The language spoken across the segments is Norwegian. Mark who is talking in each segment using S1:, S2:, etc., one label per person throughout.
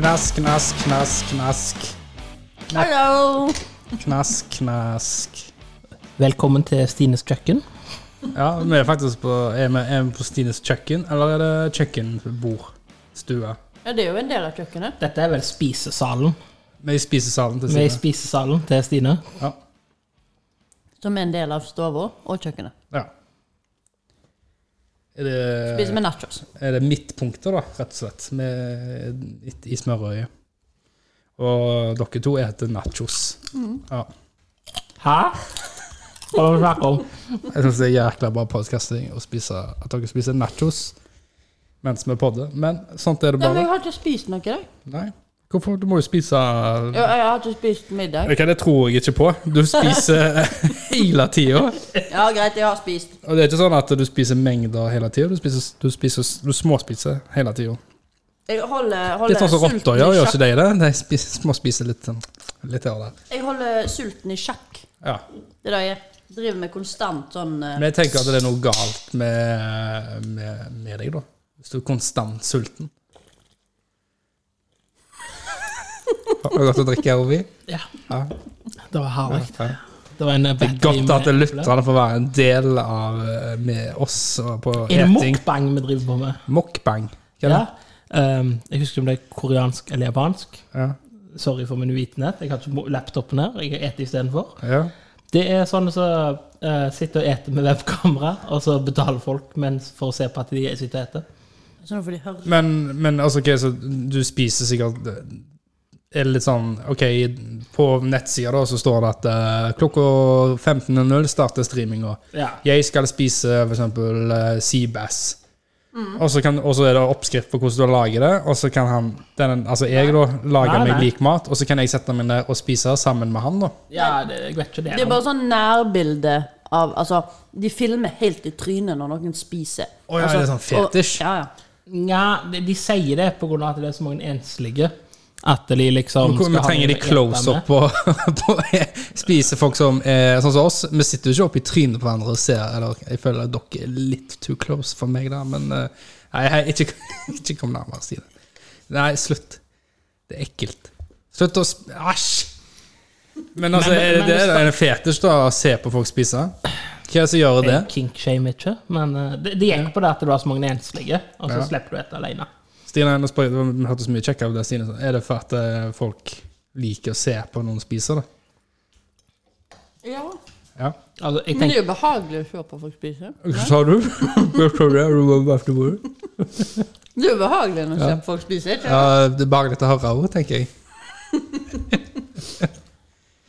S1: Knask, knask, knask, knask.
S2: Hallo!
S1: Knask, knask.
S3: Velkommen til Stines kjøkken.
S1: Ja, vi er faktisk på, er vi, er vi på Stines kjøkken, eller er det kjøkkenbord? Stua.
S2: Ja, det er jo en del av kjøkkenet.
S3: Dette er vel spisesalen.
S1: Vi er i spisesalen til
S3: Vi er i
S1: Stine.
S3: spisesalen til Stine.
S1: Ja.
S2: Som er en del av stua og kjøkkenet.
S1: ja. Er
S2: Spiser
S1: det,
S2: med nachos.
S1: er det midtpunkter, da, rett og slett, med, midt i smørøyet? Og dere to heter nachos.
S2: Mm.
S1: Ja.
S3: Hæ? Hva er det du snakker om?
S1: Jeg syns det er jækla bra podcasting å spise, at dere spiser nachos mens vi podder, men sånt er det
S2: Nei, men
S1: bare.
S2: jeg har ikke spist noe i dag.
S1: Nei. Hvorfor? Du må jo spise
S2: Jeg, jeg har ikke spist middag.
S1: Ok, det tror jeg ikke på. Du spiser eh, hele tida.
S2: Ja, greit, jeg har spist.
S1: Og det er ikke sånn at du spiser mengder hele tida. Du, spiser- du, spiser- du småspiser hele tida.
S2: Jeg holder,
S1: Litt
S2: holder
S1: sånn som rotter gjør,
S2: sulten i
S1: gjør ikke
S2: sjakk.
S1: de det? De spiser, småspiser litt, sånn- litt her og der.
S2: Jeg holder sulten i sjakk.
S1: Ja.
S2: Det der jeg driver med konstant sånn eh,
S1: Men jeg tenker at det er noe galt med, med, med deg, da. Hvis du er konstant sulten. Har du godt å drikke her, Ovi?
S3: Ja,
S1: Ja.
S3: det var herlig.
S1: ja.
S3: Det var en
S1: Det er godt at lytterne får være en del av eh, med oss og på
S3: Er det
S1: eting.
S3: mukbang vi driver på med?
S1: Mukbang. Hva er
S3: Ja.
S1: det?
S3: Um, jeg husker ikke om det er koreansk eller japansk.
S1: Ja.
S3: Sorry for min uvitenhet. Jeg har ikke mo- laptopen her. Jeg eter istedenfor.
S1: Ja.
S3: Det er sånne som eh, sitter og eter med webkamera, og så betaler folk mens for å se på at de sitter og eter.
S2: Så nå får sånn de høre.
S1: Men, men altså, ok, så du spiser sikkert eh, Er det litt sånn Ok, på nettsida da, så står det at eh, klokka 15.00 starter streaminga.
S3: Ja.
S1: Jeg skal spise for eksempel eh, seabass.
S3: Mm.
S1: Og så kan- og så er det oppskrift på hvordan du lager det. Og så kan han den, Altså jeg, da, lager
S3: Nei,
S1: meg
S3: nei.
S1: lik mat, og så kan jeg sette meg ned og spise sammen med han, da.
S3: ja, det, jeg vet ikke det.
S2: Det er bare sånn nærbilde av Altså, de filmer helt i trynet når noen spiser.
S1: Å ja,
S2: altså,
S1: er det sånn fetisj?
S2: Og, ja, ja.
S3: Nja, de, de sier det pga. at det er så mange enslige. At de liksom
S1: Hvor- Vi
S3: ha
S1: trenger de
S3: noen å
S1: close
S3: ete
S1: up på, på spise folk som er sånn som oss. Vi sitter jo ikke oppe i trynet på hverandre og ser eller, Jeg føler at dere er litt too close for meg, da, men eh, Nei, hei, ikke, ikke kom nærmere, Stine. Nei, slutt. Det er ekkelt. Slutt å sp... Æsj! Men altså,
S3: Men-
S1: er det,
S3: men-
S1: det, er det en fetisj, da, å se på folk spise? Hva er det som gjør
S3: med.
S1: det?
S3: Jeg kinkshame ikke, men eh, det, det gikk på det at det var så mange enslige, og så
S1: Ja.
S3: slipper du et alene.
S1: Stine, nå spør, jeg- det hørtes mye kjekkere ut det Stine sa. Er det for at eh, folk liker å se på noen spise, da?
S2: ja.
S1: Ja.
S3: Altså, jeg
S2: Men det
S3: tenker,
S2: er jo behagelig å se på folk spise.
S1: Hva sa du? Hva sa du? Er du bare etter bordet?
S2: Det er jo behagelig når ja. folk spiser. Ikke?
S1: Ja, det er bare litt å høre òg, tenker jeg.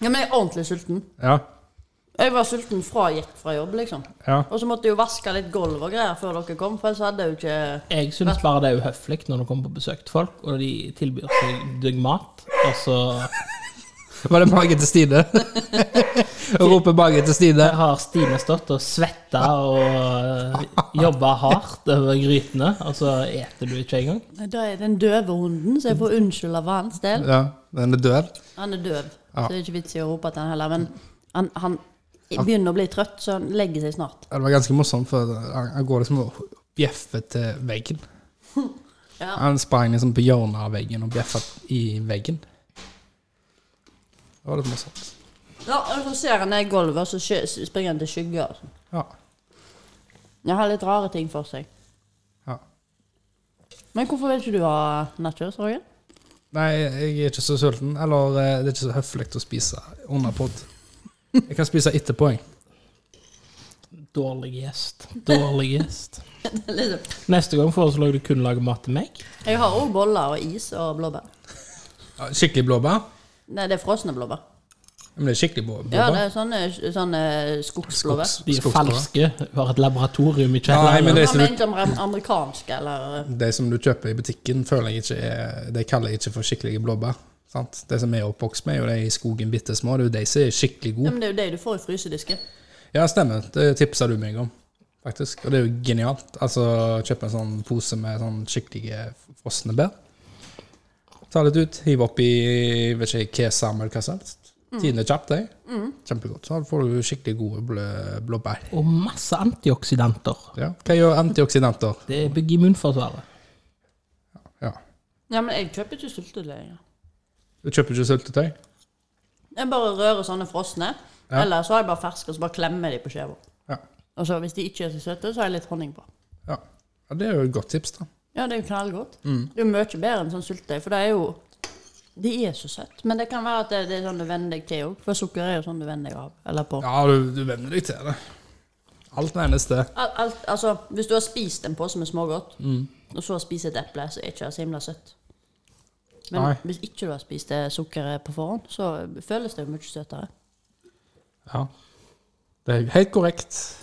S2: Ja, men jeg er ordentlig sulten.
S1: Ja,
S2: Jeg var sulten fra jeg gikk fra jobb, liksom.
S1: ja.
S2: Og så måtte jeg jo vaske litt gulv og greier før dere kom, for ellers hadde jeg jo ikke
S3: jeg syns bare det er uhøflig når du kommer på besøk til folk, og de tilbyr seg deg mat, og så
S1: Var det magen til Stine? Rope magen til Stine.
S3: har Stine stått og svetta og jobba hardt over grytene, og så eter du ikke engang.
S2: Nei, Da er den døve hunden, så jeg får unnskylde for hans del.
S1: Ja, den er død.
S2: Han er døv,
S1: Ja.
S2: så det er ikke vits i å rope til han heller. Men han, han begynner å bli trøtt, så han legger seg snart.
S1: Ja, Det var ganske morsomt, for han han går liksom og bjeffer til veggen.
S2: Ja.
S1: Han sprang liksom på hjørnet av veggen og bjeffa i veggen. Det var litt morsomt.
S2: Ja, og Så ser han ned i gulvet, og så skje- springer han til skygger. og sånn.
S1: Ja.
S2: Jeg har litt rare ting for seg.
S1: ja.
S2: Men hvorfor vil ikke du ha nachos, Roger?
S1: Nei, jeg er ikke så sulten. Eller eh, det er ikke så høflig å spise under pod. Jeg kan spise etterpå, jeg.
S3: Dårlig gjest. Dårlig gjest.
S2: Liksom.
S3: Neste gang foreslår jeg du kun lager mat til meg.
S2: Jeg har òg boller og is og blåbær.
S1: Ja, Skikkelig blåbær?
S2: Nei, det er frosne blåbær.
S1: Men det er skikkelig blå- blåbær.
S2: Ja, det er sånne, sånne skogsblåbær.
S1: Skogs-
S3: De er
S1: skogsblåbær.
S3: falske. Hun har et laboratorium
S1: Nei, men
S3: i kjelleren.
S1: det-
S2: Han
S1: er så-
S2: mente om am- amerikanske, eller
S1: De som du kjøper i butikken, føler jeg ikke er, de kaller jeg ikke for skikkelige blåbær. Sant? De som er oppvokst med, er jo de i skogen bitte små. Det er jo de som er skikkelig
S2: ja,
S1: gode.
S2: men Det er jo det du får i frysedisken.
S1: Ja, stemmer. Det tipsa du meg om, faktisk. Og det er jo genialt. Altså, kjøpe en sånn pose med sånn skikkelige frosne bær. Ta litt ut, hiv oppi vet ikke kesam eller hva som helst.
S2: Mm.
S1: Tine kjapt, de. Kjempegodt. Så får du skikkelig gode blå, blåbær.
S3: Og masse antioksidanter.
S1: Ja. Hva gjør antioksidanter?
S3: Det bygger immunforsvaret.
S1: Ja.
S2: Ja, men jeg kjøper ikke syltetøy lenger.
S1: Du kjøper ikke syltetøy?
S2: Jeg bare rører sånne frosne.
S1: Ja.
S2: Eller så har jeg bare ferske, og så bare klemmer de på skiva.
S1: Ja.
S2: Og så hvis de ikke er så søte, så har jeg litt honning på.
S1: ja. Ja, Det er jo et godt tips, da.
S2: Ja, det er jo knallgodt.
S1: Mm.
S2: Det er jo mye bedre enn sånn syltetøy, for det er jo De er så søtt. Men det kan være at det, det er sånn du venner deg til òg, for sukker er jo sånn du venner deg av. Eller på.
S1: Ja, du, du venner deg til det. Alt nærmest det.
S2: Al- Alt, altså, hvis du har spist en pose med smågodt,
S1: Mm.
S2: og så har spist et eple, så er ikke det så himla søtt. Men
S1: Nei.
S2: hvis ikke du har spist det sukkeret på forhånd, så føles det jo mye søtere.
S1: Ja. Det er helt korrekt.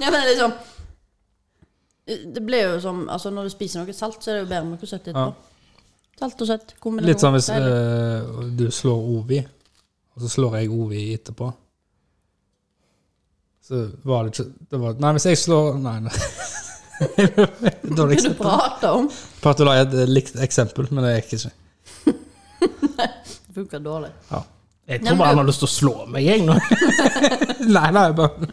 S2: Ja, men liksom Det blir jo som altså Når du spiser noe salt, så er det jo bedre med noe søtt etterpå. Salt og søtt. kombinasjon.
S1: Litt sånn hvis
S2: Deilig.
S1: eh, du slår Ovi, og så slår jeg Ovi etterpå. Så var det ikke det var, Nei, hvis jeg slår Nei, nei. Dårlig
S2: Hva du
S1: eksempel.
S2: prater om,
S1: Bare at du la et eh, likt eksempel, men det gikk ikke.
S2: det funker dårlig.
S1: Ja.
S3: Jeg
S2: Nei, men
S3: tror bare
S2: du-
S3: han har lyst til å slå meg, jeg nå.
S1: Nei, nei, bare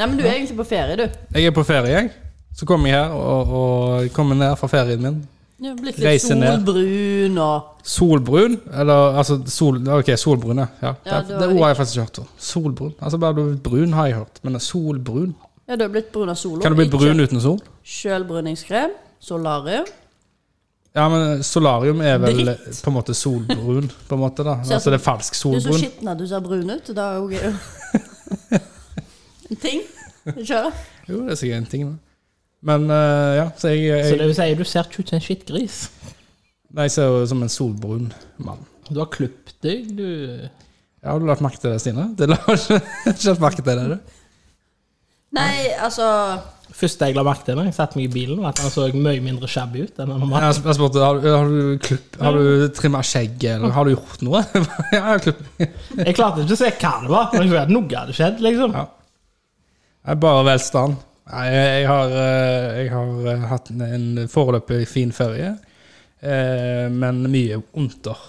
S2: Nei, men du er egentlig på ferie, du.
S1: Jeg er på ferie, jeg. Så kommer jeg her og, og kommer ned fra ferien min.
S2: Du er blitt litt
S1: Reiser ned.
S2: solbrun og
S1: Solbrun, eller altså sol, Ok, solbrune. Ja.
S2: Ja,
S1: det
S2: du
S1: det
S2: har
S1: ordet har jeg faktisk ikke hørt. før. Solbrun. Altså bare du brun har jeg hørt, men solbrun
S2: Ja, du er blitt brun av sola.
S1: Kan du bli
S2: Ikke
S1: brun uten sol?
S2: Sjølbruningskrem, solarium.
S1: Ja, men eh, solarium er vel eh,
S2: Dritt.
S1: på en måte solbrun, på en måte, da.
S2: Ser
S1: Altså
S2: som-
S1: det er falsk
S2: Du er så
S1: solbrun.
S2: skitten at du ser brun ut. Da er jo gøy. En ting. Kjør.
S1: Jo, det er sikkert en ting, da. Men eh, ja, så jeg,
S3: Så det
S1: jeg,
S3: vil si, du ser ikke ut som en skittgris.
S1: nei, jeg ser jo ut som en solbrun mann.
S3: Du har klippet deg, du.
S1: Ja, Har du lagt merke til det, Stine? Det la ikke, ikke lagt merke til det, du.
S2: Nei, altså
S3: Første jeg la merke til da jeg satte meg i bilen, var at han så mye mindre shabby ut enn han normalt.
S1: Jeg jeg spurte har, du- har du klipp, har du trimma skjegget, eller har du gjort noe? ja, jeg har klipp.
S3: Jeg klarte ikke å se hva det var, men jeg så at noe hadde skjedd, liksom.
S1: Ja. Jeg er bare velstand. Nei, jeg, jeg har, eh, jeg har eh, hatt en, en foreløpig fin ferie, eh, men mye vondter.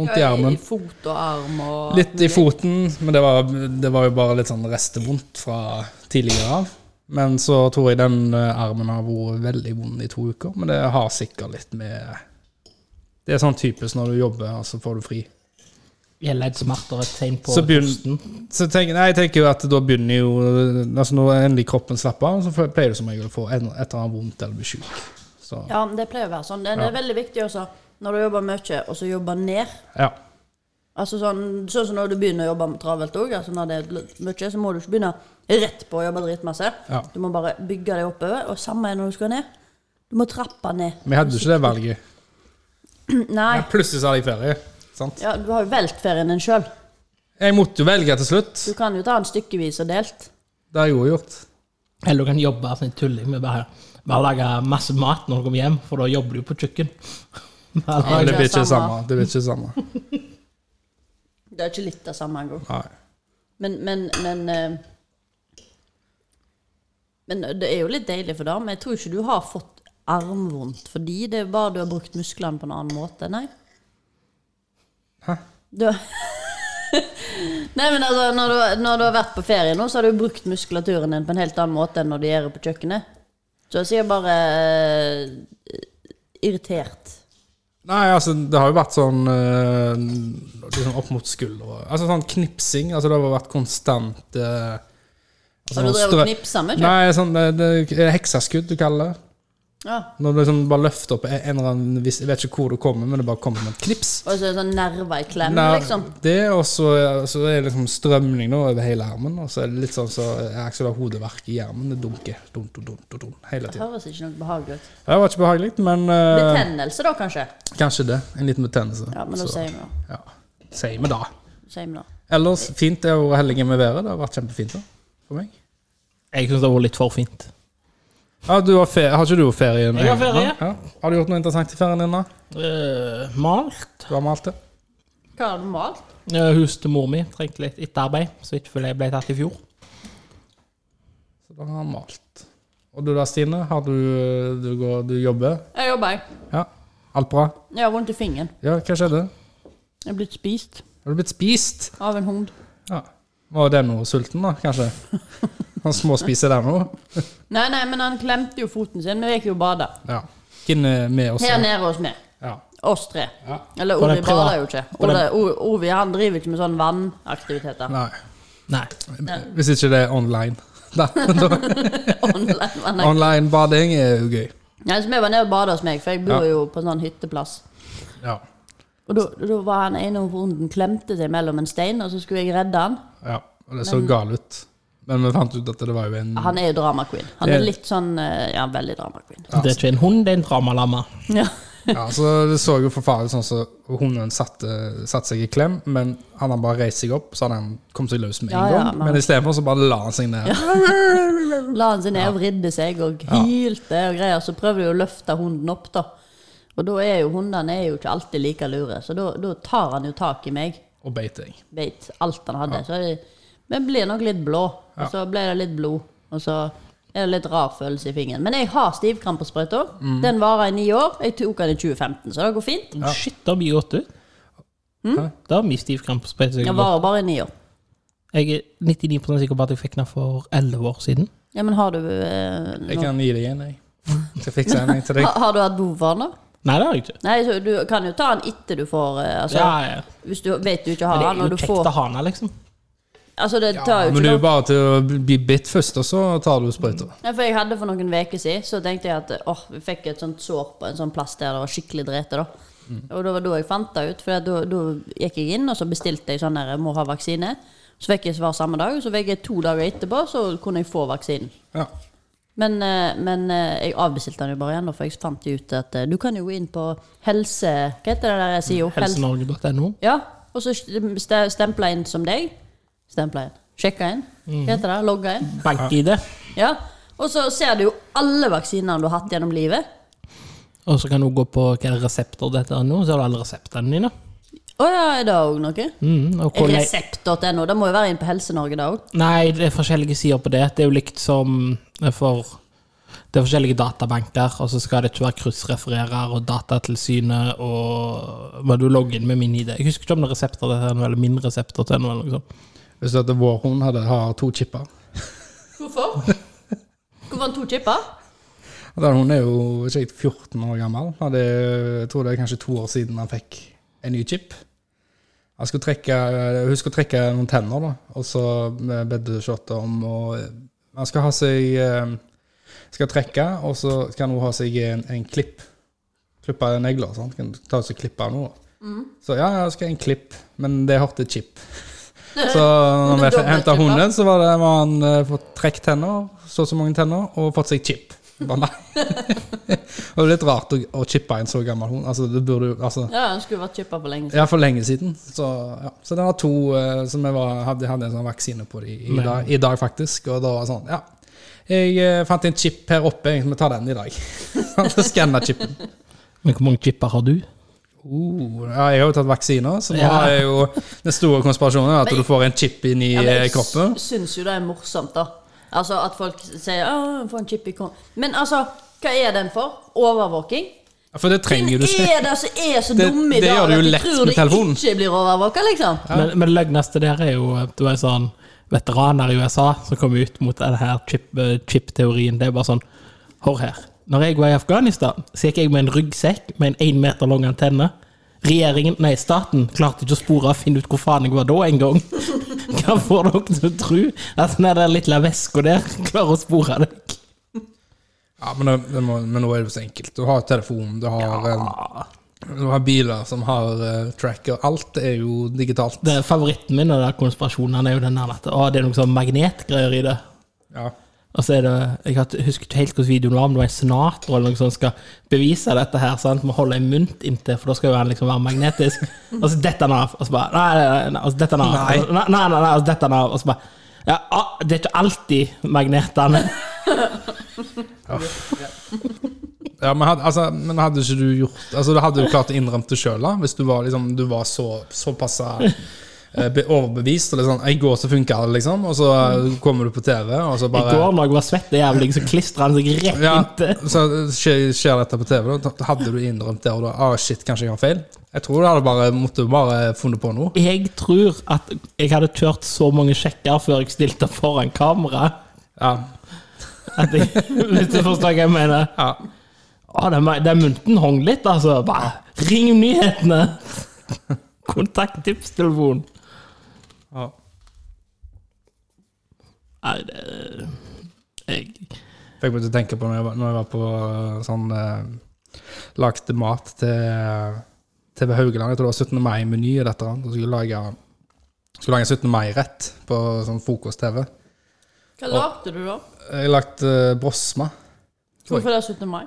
S1: Vondt i armen.
S2: Fot og arm og
S1: Litt i foten, men det var, det var jo bare litt sånn restevondt fra tidligere av. Men så tror jeg den eh, armen har vært veldig vond i to uker, men det har sikkert litt med Det er sånn typisk når du jobber, og så får du fri.
S3: Jeg ledd smerter et tegn på
S1: Så begynn-
S3: pusten.
S1: Så tenker, nei, jeg tenker jo at da begynner jo altså Når endelig kroppen slapper av, så får- pleier du som regel å få en, et eller annet vondt eller bli sjuk. Så
S2: Ja, men det pleier å være sånn. Det, det er veldig viktig også når du jobber mye, og så jobber ned.
S1: ja.
S2: Altså sånn, sånn som når du begynner å jobbe travelt òg. Altså når det er l- mye, så må du ikke begynne rett på å jobbe dritmasse.
S1: Ja.
S2: Du må bare bygge deg oppover. Og samme er når du skal ned. Du må trappe ned. Mm,
S1: Men jeg hadde jo ikke det valget.
S2: Nei.
S1: Men plutselig så hadde jeg ferie. Sant?
S2: Ja, du har jo valgt ferien din sjøl.
S1: Jeg måtte jo velge til slutt.
S2: Du kan jo ta den stykkevis og delt.
S1: Det har jeg jo gjort.
S3: Eller du kan jobbe som en tulling med bare, bare lage masse mat når du kommer hjem, for da jobber du på kjøkken. Bare
S1: Men
S3: lage-
S1: det blir ikke det
S2: samme.
S1: samme. Det blir ikke det samme.
S2: Det er ikke litt det samme engang.
S1: Nei.
S2: Men, men, men eh, Men det er jo litt deilig for det, men jeg tror ikke du har fått armvondt fordi det er bare du har brukt musklene på en annen måte. Nei.
S1: Hæ?
S2: Du Nei, men altså, når du, når du har vært på ferie nå, så har du brukt muskulaturen din på en helt annen måte enn når du gjør det på kjøkkenet. Så jeg sier bare eh, irritert.
S1: Nei, altså, det har jo vært sånn eh, liksom opp mot skuldra Altså sånn knipsing. Altså, det har vært konstant eh, altså,
S2: Har du
S1: sånn
S2: drevet
S1: strø-
S2: og knipsa med kjøkkenet?
S1: Nei, sånn, det, det er hekseskudd du kaller det.
S2: Ja.
S1: Når du liksom bare løfter opp en eller annen vis- Jeg vet ikke hvor det kommer, men det bare kommer med et klips.
S2: Og så er det sånn nerver i klem,
S1: Nei,
S2: liksom.
S1: Det, og så så er det liksom strømning nå over hele armen. Og så er det litt sånn så Aksel har hodeverk i armen. Det dunker dunk, dunk, dunk, dunk, dunk, hele
S2: Det
S1: tiden.
S2: høres ikke noe behagelig ut.
S1: Det var ikke behagelig, men eh,
S2: Betennelse, da, kanskje?
S1: kanskje det. En liten betennelse.
S2: Ja, men da
S1: Så,
S2: sier vi det.
S1: ja. Sier vi da.
S2: Sier vi det.
S1: Ellers fint er jo helgen med været. Det har vært kjempefint da, for meg.
S3: Jeg syns det var litt for fint.
S1: Ja, du har, ferie, har ikke du ferie?
S3: Jeg har ferie.
S1: Ja. Har du gjort noe interessant i ferien din? da?
S3: Eh, malt.
S1: Du har malt det?
S2: Hva har du malt?
S3: Eh, hus til mor mi trengte litt etterarbeid, så ikke jeg ble tatt i fjor.
S1: Så da har han malt. Og du da, Stine? Har du, du, går, du jobber?
S2: Jeg jobber, jeg.
S1: Ja. Alt bra?
S2: Jeg har vondt i fingeren.
S1: Ja, hva skjedde?
S2: Jeg er blitt spist
S1: Har du blitt spist?
S2: av en hund.
S1: Ja. Var det noe sulten, da, kanskje? Han småspiser der nå?
S2: Nei, nei, men han klemte jo foten sin. Vi gikk jo og bada.
S1: Ja. inne med oss.
S2: Her nede hos meg.
S1: Ja.
S2: Oss tre.
S1: Ja.
S2: Eller
S3: På
S2: Ovi
S3: den priva-
S2: bader jo ikke.
S3: på den-
S2: Ole- O- Ovi han driver ikke med sånn vannaktiviteter.
S1: Nei.
S3: Nei.
S1: Hvis ikke det er online. Da, da,
S2: Online vannaktiviteter.
S1: online bading er jo gøy.
S2: Nei, så vi var nede og bada hos meg, for jeg bor
S1: Ja.
S2: jo på en sånn hytteplass.
S1: Ja.
S2: Og da da var han ene hunden klemte seg mellom en stein, og så skulle jeg redde han.
S1: ja. Og det så gal ut. Men vi fant ut at det var jo en
S2: Han er jo drama queen. Han
S1: Mm. Det-
S2: er litt sånn eh, Ja, veldig drama queen.
S3: Det er ikke en hund, det er en dramalamme.
S2: Ja.
S1: Ja, så Det så jo forferdelig sånn som så hunden satte, satte seg i klem, men han hadde bare reist seg opp, så hadde han kommet seg løs med en
S2: Ja, ja,
S1: gang.
S2: men-
S1: men i stedet for så bare la han seg ned.
S2: La han seg ned og vridde seg og hylte og greier. Så prøvde jeg å løfte hunden opp, da. Og da er jo hundene er jo ikke alltid like lure, så da da tar han jo tak i meg.
S1: Og beit jeg.
S2: Beit alt han hadde. Så jeg, men blir nok litt blå. Og så ble det litt blod. Og så er det litt rar følelse i fingeren. Men jeg har stivkrampesprøyta.
S3: Mm.
S2: Den varer i ni år. Jeg tok den i 2015, så det går fint.
S3: Shit, det har mye gått ut.
S2: Hm?
S3: Det har mye stiv krampesprøyte. som jeg har
S2: Den
S3: gått.
S2: varer bare i ni år.
S3: Jeg er 99 sikker på at jeg fikk den for 11 år siden.
S2: Ja, men har du eh,
S1: Jeg
S2: nå-
S1: kan gi deg en, jeg. Skal fikse en jeg, til deg.
S2: ha, Har du hatt behov for den, da?
S3: Nei, det har jeg ikke.
S2: Nei, så du kan jo ta den etter du får eh, altså,
S3: Ja, ja.
S2: Hvis du vet du ikke
S3: Men
S2: har
S3: det
S2: den,
S3: er
S2: og
S3: jo
S2: du
S3: kjekt
S2: får
S3: å ha den, liksom.
S2: Altså, det tar
S1: Ja, men
S2: jo ikke
S1: det er
S2: noe
S1: jo bare til å bli bitt først, og så tar du sprøyta.
S2: Nei, for jeg hadde for noen uker siden, så tenkte jeg at åh, vi fikk et sånt sår på en sånn plass der det var skikkelig drete, da.
S1: Mm.
S2: Og det var da jeg fant det ut, for at da, da gikk jeg inn, og så bestilte jeg sånn der, må ha vaksine. Så fikk jeg svar samme dag, og så fikk jeg to dager etterpå, så kunne jeg få vaksinen.
S1: Ja.
S2: Men, eh, men eh, jeg avbestilte den jo bare igjen, da, for jeg fant jo ut at eh, du kan jo gå inn på helse... Hva heter det der jeg sier? jo?
S1: Mm,
S2: Helse-
S3: Helsenorge.no.
S2: Ja, og så ste- stempla inn som deg. Stempla inn. Sjekka inn.
S1: Mm.
S2: Hva heter det? Logga inn.
S3: Bank-ID.
S2: Ja, og så ser du jo alle vaksinene du har hatt gjennom livet.
S3: Og så kan du gå på hva er det resepter dette er nå, så har du alle reseptene dine.
S2: Å ja, er det òg noe?
S3: Mm, og hvordan-
S2: Resept.no. Det må jo være inn på Helse-Norge, det òg.
S3: Nei, det er forskjellige sider på det. Det er jo likt som for Det er forskjellige databanker, og så skal det ikke være kryssrefererer og Datatilsynet og Må du logge inn med min ID? Jeg husker ikke om det er resepter til noe, eller min resepter til noe, eller noe sånt.
S1: Hvis at vår hund hadde har to chipper
S2: Hvorfor? Hvorfor han to chipper?
S1: Den hunden er jo ikke helt 14 år gammel. Hadde, jeg tror det er kanskje to år siden han fikk en ny chip. Han skulle trekke, hun skulle trekke noen tenner, da, og så bedde Shotta om å Han skal ha seg eh, Skal trekke, og så skal hun ha seg en, en klipp. Klippe negler. Sant? Kan ta og så klippe av noe. Så ja, jeg skal ha en klipp, men det hørte chip. Så når vi henta hunden, så var det, var han eh, fått trukket tenner, så og så mange tenner, og fått seg chip. Bare nei. Og det er litt rart å, å chippe en så gammel hund. Altså, det burde jo altså,
S2: Ja, han skulle vært chippa for lenge siden.
S1: Ja, for lenge siden. Så, ja. så det var to eh, som jeg var, hadde, hadde en sånn vaksine på de i, dag, i dag, faktisk. Og da var det sånn, ja. Jeg eh, fant en chip her oppe, jeg må ta den i dag. Så Skanna chipen.
S3: Men hvor mange chipper har du?
S1: Oh, ja, jeg har jo tatt vaksiner, så nå
S3: Ja.
S1: har jeg jo den store konspirasjonen er at du får en chip inn i
S2: Ja, men
S1: eh,
S2: jeg
S1: kroppen.
S2: s- syns jo det er morsomt, da. Altså at folk sier 'Å, få en chip i kroppen'. Men altså, hva er den for? Overvåking?
S1: Ja, For det
S2: Hvem
S1: trenger
S2: er
S1: du ikke.
S2: det som er så
S1: Det-
S2: dumme i
S1: det gjør
S2: dag
S1: det jo
S2: at de
S1: lett
S2: tror
S1: med telefonen.
S2: de ikke blir overvåka, liksom?
S3: Men, men det løgneste der er jo at du er sånn veteraner i USA som kommer ut mot denne her chip- eh, chip-teorien. det er bare sånn Hør her. Når jeg var i Afghanistan, så gikk jeg med en ryggsekk med en én meter lang antenne. Regjeringen, nei, staten klarte ikke å spore og finne ut hvor faen jeg var da engang. Hva får dere til å tro at den der lille veska der klarer å spore deg?
S1: Ja, men, det, det må, men nå er det jo så enkelt. Du har telefon, du har, eh, du har biler som har eh, tracker. Alt er jo digitalt.
S3: Det er Favoritten min av de konspirasjonene er jo den der at å, det er noen sånn magnetgreier i det.
S1: Ja.
S3: Og så er det, jeg har- husker ikke helt hvordan videoen var, om det var en senator eller noe som skal bevise dette her, sant? må holde en mynt inntil, for da skal jo den liksom være magnetisk. Og så detter den av, og så bare Nei, nei, nei, nei, og så detter den av.
S1: Nei.
S3: Og så, Nei, nei, nei, nei og så detter den av, og så bare ja, ah, Det er ikke alltid magnetene
S1: Ja, men hadde, altså, men hadde ikke du gjort Altså, Du hadde jo klart å innrømme det sjøl hvis du var, liksom, du var så, såpass eh, be- overbevist. Og liksom, 'I går så funka det', liksom. Og så eh, kommer du på TV, og så
S3: I
S1: bare
S3: går når jeg var svett og jævlig, så klistra han seg rett
S1: ja,
S3: inntil.
S1: Så skjer, skjer dette på TV, da. da Hadde du innrømt det, og da ah, 'Shit, kanskje jeg har feil'? Jeg tror du hadde bare måtte bare funnet på noe.
S3: Jeg tror at jeg hadde kjørt så mange sjekker før jeg stilte opp foran kamera.
S1: Ja,
S3: At jeg, hvis du forstår hva jeg mener.
S1: ja.
S3: Å, Ah, den, den mynten hang litt, altså. Bare ring nyhetene! Kontakttipstelefon.
S1: Ja.
S3: Nei, det eh, jeg,
S1: Fikk meg til å tenke på når jeg var, når jeg var på eh, sånn eh, Lagde mat til TV Haugeland. Jeg tror det var 17. mai-meny eller et eller annet. og Skulle lage, skulle lage en 17. mai-rett på sånn frokost-TV.
S2: Hva lagde du da?
S1: Jeg lagde eh, brosma.
S2: Hvorfor det er 17. mai?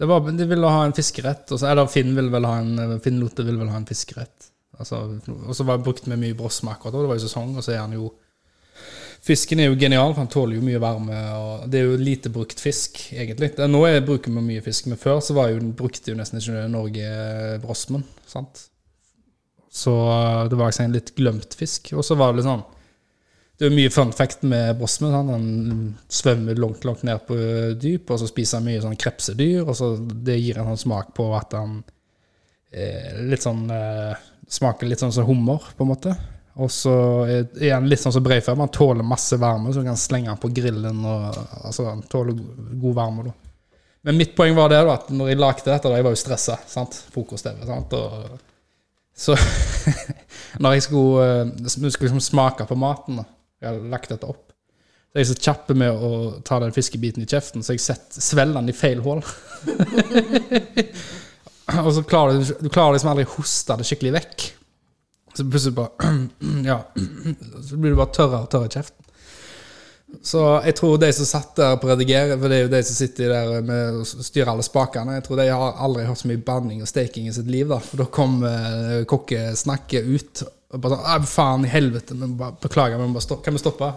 S1: Det var, de ville ha en fiskerett, og så, eller Finn ville vel ha en Finn Lotte ville vel ha en fiskerett. Altså, og så var, brukte vi mye brosme akkurat da, det var jo sesong, og så er han jo Fisken er jo genial, for han tåler jo mye varme. og Det er jo lite brukt fisk, egentlig. Det, er- nå er, bruker vi mye fisk, men før så var jo, brukte jo nesten ikke Norge eh, brosmen. sant? Så det var liksom en litt glemt fisk. Og så var det litt sånn det er jo mye fun fact med brosmen. Han, han svømmer langt, langt ned på dyp, og så spiser han mye sånn krepsedyr, og så det gir en sånn smak på at han eh, litt sånn eh, smaker litt sånn som hummer, på en måte. Og så er er han litt sånn som breifarm. Han tåler masse varme, så du kan slenge han på grillen. Og, altså, han tåler go- god varme, da. Men mitt poeng var det da, at når jeg lagde dette, da, jeg var jo stressa. Frokost-TV. sant? Og så når jeg skulle, eh, skulle liksom smake på maten, da, jeg hadde lagt dette opp, så er jeg så kjapp med å ta den fiskebiten i kjeften, så jeg sett- svelger den i feil hull. og så klarer du, du klarer liksom aldri å hoste det skikkelig vekk. Så plutselig bare Ja. Så blir du bare tørrere og tørrere i kjeften. Så jeg tror de som satt der på redigere, for det er jo de som sitter der med og styrer alle spakene, jeg tror de har aldri hørt så mye banning og steking i sitt liv, da. For da kom eh, kokkesnakket ut. Og bare sånn «Nei, faen i helvete, men bare, beklager, men bare stopp, kan vi stoppe?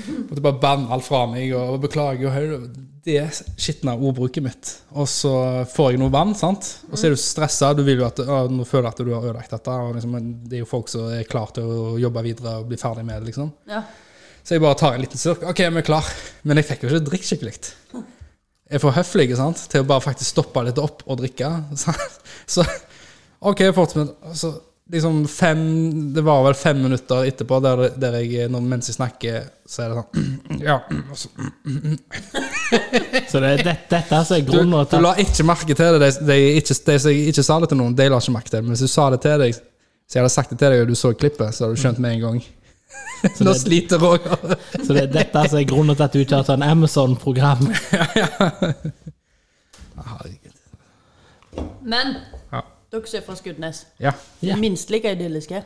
S1: Måtte bare banne alt fra meg og beklage. Og høyre. det skitne ordbruket mitt. Og så får jeg noe vann, sant? og så er du stressa. Du vil jo at, «Å, nå føler jeg at du har ødelagt dette. Og liksom, det er jo folk som er klare til å jobbe videre og bli ferdig med det. liksom.
S2: Ja.
S1: Så jeg bare tar en liten slurk. Ok, vi er klar. Men jeg fikk jo ikke drikke skikkelig. Jeg er for høflig ikke sant? til å bare faktisk stoppe litt opp og drikke. Så, så ok, fortsett. Så liksom fem Det var vel fem minutter etterpå der, der jeg, når, mens jeg snakker, så er det sånn Ja. og så-
S3: så det, det, dette er så er
S1: Du,
S3: grunnen
S1: du
S3: til
S1: la ikke merke til det. De, de, ikke, de som ikke sa det til noen, de la ikke merke til det. Men hvis du sa det til deg, så jeg hadde sagt det til deg, og du så klippet, så hadde du skjønt med en gang. Nå sliter Roger.
S3: at- så det, dette er så er grunnen til at du ikke har sånn Amazon-program.
S1: Herregud.
S2: Men
S1: Ja.
S2: dere som er fra Skudenes,
S1: Ja.
S3: Ja.
S2: minst like idylliske.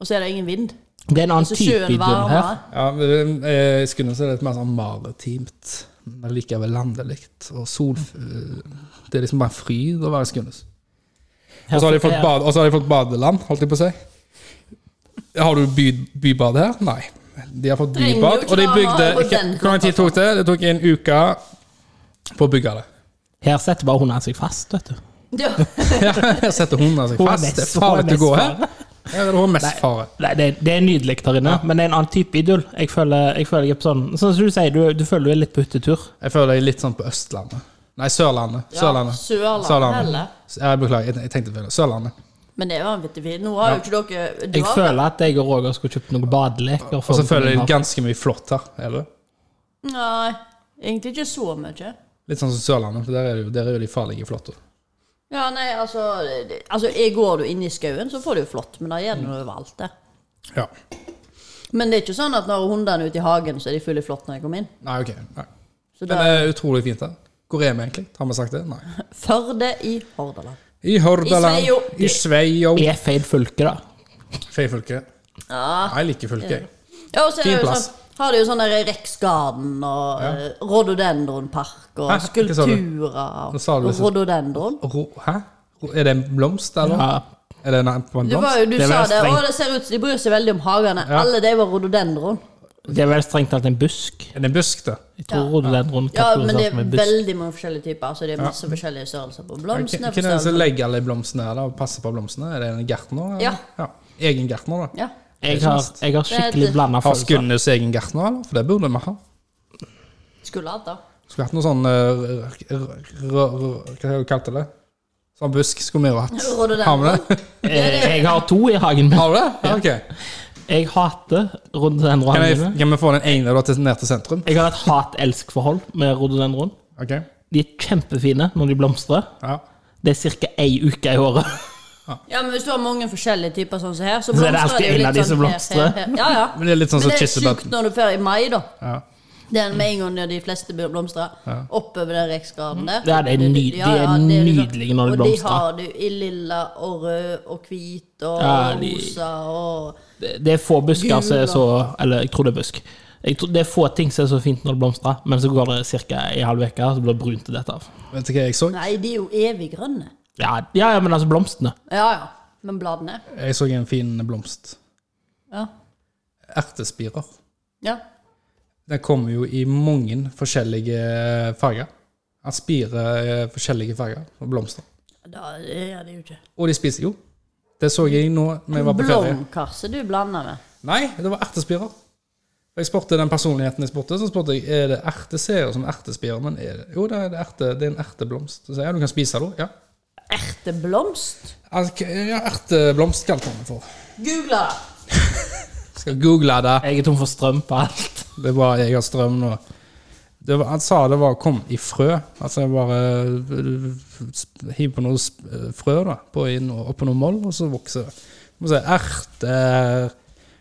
S2: Og så er det ingen vind.
S3: Det er en annen
S2: Så
S3: type
S2: sjøen
S3: idyll her.
S2: varmer.
S1: Ja, men, eh, jeg skulle si det er litt mer sånn maritimt, men likevel landelig. Og sol eh, Det er liksom bare fryd å være i Skundes. Og så har de fått,
S3: Her-
S1: bad, og så har de fått badeland, holdt jeg på å si. Har du by, bybad her? Nei. De har fått
S2: Trenger jo
S1: bybad,
S2: ikke
S1: og de
S2: være
S1: bygde
S2: på
S1: ikke,
S2: den
S1: Hvor lang tid tok det? Det tok en uke på å bygge det.
S3: Her setter bare hundene seg fast, vet du.
S2: Ja.
S1: Ja, Her setter hundene seg fast. Det er farlig å gå her. Her er det HMS-fare.
S3: Nei, det, det er nydelig der inne, men det er en annen type idyll. Jeg føler jeg, føler jeg er på sånn Sånn som du sier, du, du føler du er litt på hyttetur.
S1: Jeg føler jeg er litt sånn på Østlandet. Nei, Sørlandet.
S2: Ja,
S1: Sørlandet.
S2: Sørlandet, heller.
S1: Ja, beklager, jeg, jeg tenkte feil. Sørlandet.
S2: Men det er vanvittig fint. Nå har jo ikke dere du
S3: Jeg
S2: har,
S3: føler at jeg og Roger skulle kjøpt noen badeleker.
S1: Og så føler jeg
S3: meg.
S1: ganske mye flott her. Er det?
S2: Nei, egentlig ikke så mye.
S1: Litt sånn som Sørlandet, for der er, det jo, der er jo de farlige flotte.
S2: Ja, nei, altså, det- altså jeg Går du inn i skauen, så får du jo flott, men det gjør du overalt. det.
S1: Ja.
S2: Men det er ikke sånn at når hundene er ute i hagen, så er de fulle i flått når jeg kommer inn.
S1: Nei, ok. Nei.
S2: Så
S1: Men
S2: da,
S1: det er utrolig fint her. Hvor er vi egentlig? Har vi sagt det? Nei.
S2: Førde i Hordaland.
S1: I
S2: I
S1: Hordaland.
S2: Sveio.
S1: I Sveio.
S3: Er feil fylke, da.
S1: Feifylke.
S2: Ja.
S1: Jeg liker fylket, jeg.
S2: Ja, og så er det
S1: Fin
S2: jo
S1: plass.
S2: sånn, har de jo sånn der Rexgarden og
S1: Ja.
S2: eh, Rhododendronpark og
S1: Hæ? Hva sa du?
S2: skulpturer
S1: Nå sa
S2: og
S1: du det så-
S2: Rhododendron.
S1: Ro, hæ? Ro- Er det en blomst, eller?
S3: Ja.
S1: Er det en, på en
S2: Du,
S1: blomst?
S2: var jo, du
S3: Det er
S2: sa
S3: vel
S2: det,
S3: strengt.
S2: og det ser ut som de bryr seg veldig om hagene.
S1: Ja.
S2: Alle de var rhododendron.
S3: Det er vel strengt talt en busk.
S1: Er det en busk, da?
S3: Jeg tror ja. den rundt
S2: Ja, men det
S3: kategoriseres
S2: er
S3: som en busk.
S2: veldig mange forskjellige typer. Altså, det er masse forskjellige størrelser på
S1: Hvem hvem
S2: blomstene.
S1: er
S2: på
S1: det som
S2: størrelsen-
S1: legger alle blomstene her, da? Og passer på blomstene? Er det en gartner? eller?
S2: Ja.
S1: ja. Egen gartner, da?
S2: Ja.
S3: Jeg har, jeg har skikkelig
S2: Det-
S3: blanda
S1: Har
S3: følelser.
S1: Skundes egen gartner, eller? For det burde vi ha.
S2: Skulle hatt det.
S1: Skulle hatt noe sånn eh, r- r- r- r- Hva kalte du det? Sånn busk skulle vi jo hatt.
S2: Rhododendron.
S1: Har vi det?
S3: Eh, Jeg har to i hagen min.
S1: Har du det? Ja, ok.
S3: Jeg hater
S1: Kan,
S3: rhododendronene
S1: jeg,
S3: mine.
S1: kan vi få den ene da til, ned til sentrum?
S3: Jeg har et hat-elsk-forhold med rhododendron.
S1: Ok.
S3: De er kjempefine når de blomstrer.
S1: Ja.
S3: Det er ca. ei uke i året.
S2: Ja, men Hvis du har mange forskjellige typer sånn som her, så
S3: Så er det
S2: blomstrer
S3: alltid
S2: det, jo
S3: en
S2: litt
S3: av de som
S2: sånn her,
S3: blomstrer.
S2: her, her. Ja, ja.
S1: Men det er litt sånn som
S2: Men det er
S1: kirsebær.
S2: sjukt når du drar i mai, da.
S1: Ja.
S2: Det er med en gang når de fleste blomstrer. Oppover den reksgraden der.
S3: Ja, det er ny- de er
S2: det liksom-
S3: nydelige når de blomstrer.
S2: Og de har du i lilla og rød og hvit og
S3: Ja, de-
S2: rosa og
S3: Det det er få busker som er så Eller jeg tror det er busk. Jeg tror det er få ting som er så fint når det blomstrer, men så går det ca. ei halv uke, så blir det brunt til dette av.
S1: Vet du hva jeg så?
S2: Nei, de er jo evig grønne.
S3: Ja, ja, ja, men altså blomstene.
S2: Ja, ja. Men bladene
S1: Jeg så en fin blomst.
S2: Ja.
S1: Ertespirer.
S2: ja.
S1: Den kommer jo i mange forskjellige farger. Den spirer eh, forskjellige farger og blomster.
S2: Da er det jo ikke
S1: Og de spiser jo. Det så jeg nå når jeg var på ferie.
S2: Blomkarse du blander med.
S1: Nei, det var ertespirer. Jeg spurte den personligheten jeg spurte, så spurte jeg er det erte ser ut som ertespirer. Men er det? Jo, det er, det erte, det er en erteblomst. Så sier jeg ja, du kan spise det òg. Ja.
S2: Erteblomst?
S1: Altså, k- ja, Erteblomst kalte han det for.
S2: Google det!
S1: Skal google det.
S3: Jeg er tom for strøm på alt.
S1: Det var jeg har strøm nå. Det var, han sa det var kom i frø. Altså jeg bare eh, sp- hiv på noe sp- eh, frø da, på inn, og oppå noe moll, og så vokser det. Må se, erter,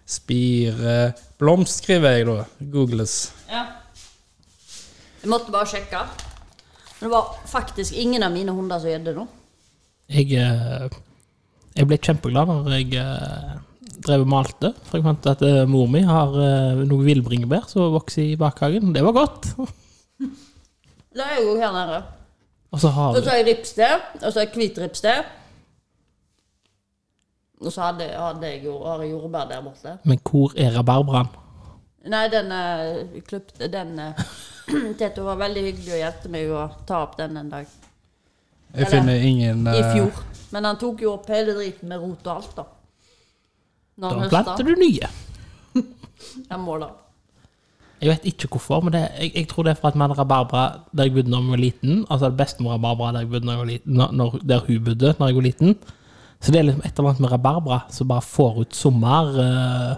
S1: spire Blomst skriver jeg, da. Googles.
S2: Ja. Jeg måtte bare sjekke. Men det var faktisk ingen av mine hunder som gjedde nå.
S3: Jeg, eh, jeg ble kjempeglad når jeg eh, drev og malte. For jeg fant at eh, mor mi har eh, noe villbringebær som vokser i bakhagen. Det var godt.
S2: La jeg gå her nede.
S3: Og så har
S2: Så
S3: vi
S2: tar jeg rips der, og så har jeg hvit rips der. Og så hadde, hadde jeg jo, har jeg jordbær der borte.
S3: Men hvor er rabarbraen?
S2: Nei, den uh, klipte Den uh, Teto var veldig hyggelig og hjelpte meg å ta opp den en dag.
S1: Jeg
S2: Eller,
S1: finner ingen
S2: I
S1: eh,
S2: fjor. Men han tok jo opp hele driten med rot og alt, da. Når
S3: Da
S2: han
S3: planter
S2: høsta.
S3: du nye.
S2: Jeg må da.
S3: Jeg vet ikke hvorfor, men det, jeg, jeg tror det er for at vi hadde rabarbra der jeg bodde da jeg var liten. Altså det beste med rabarbra der, jeg bodde når jeg var liten, når, når, der hun bodde da jeg var liten. Så det er liksom et eller annet med rabarbra som bare får ut sommer. eh,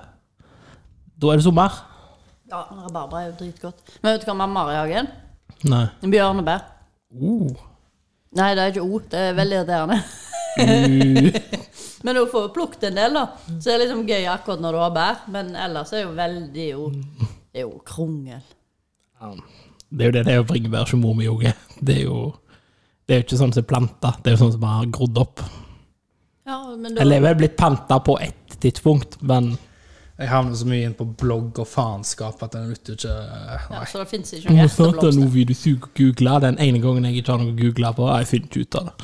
S3: da er det sommer.
S2: Ja, rabarbra er jo dritgodt. Men vet du hva mamma har i hagen?
S3: Nei.
S2: Bjørnebær.
S3: Uh.
S2: Nei, det er ikke O. Det er veldig irriterende.
S3: Mm.
S2: men hun får plukket en del, da. Så det er liksom gøy akkurat når du har bær. Men ellers er det jo veldig jo
S3: Mm.
S2: Det er jo krongel.
S3: Det er jo det det er å bringe bær som mor mi òg er. Det er jo det er jo ikke sånn som er planta, det er jo sånn som bare har grodd opp.
S2: Ja, men da
S3: Eller jeg er vel blitt planta på ett tidspunkt, men
S1: Jeg havner så mye inn på blogg og faenskap at den nytter ikke eh,
S2: ja,
S1: Nei.
S2: Så det fins ikke
S3: Nå
S2: noen
S3: satt jeg
S2: hjerteblomster.
S3: noe video suger og googler den ene gangen jeg ikke har noe å google på. Jeg finner ikke ut av det.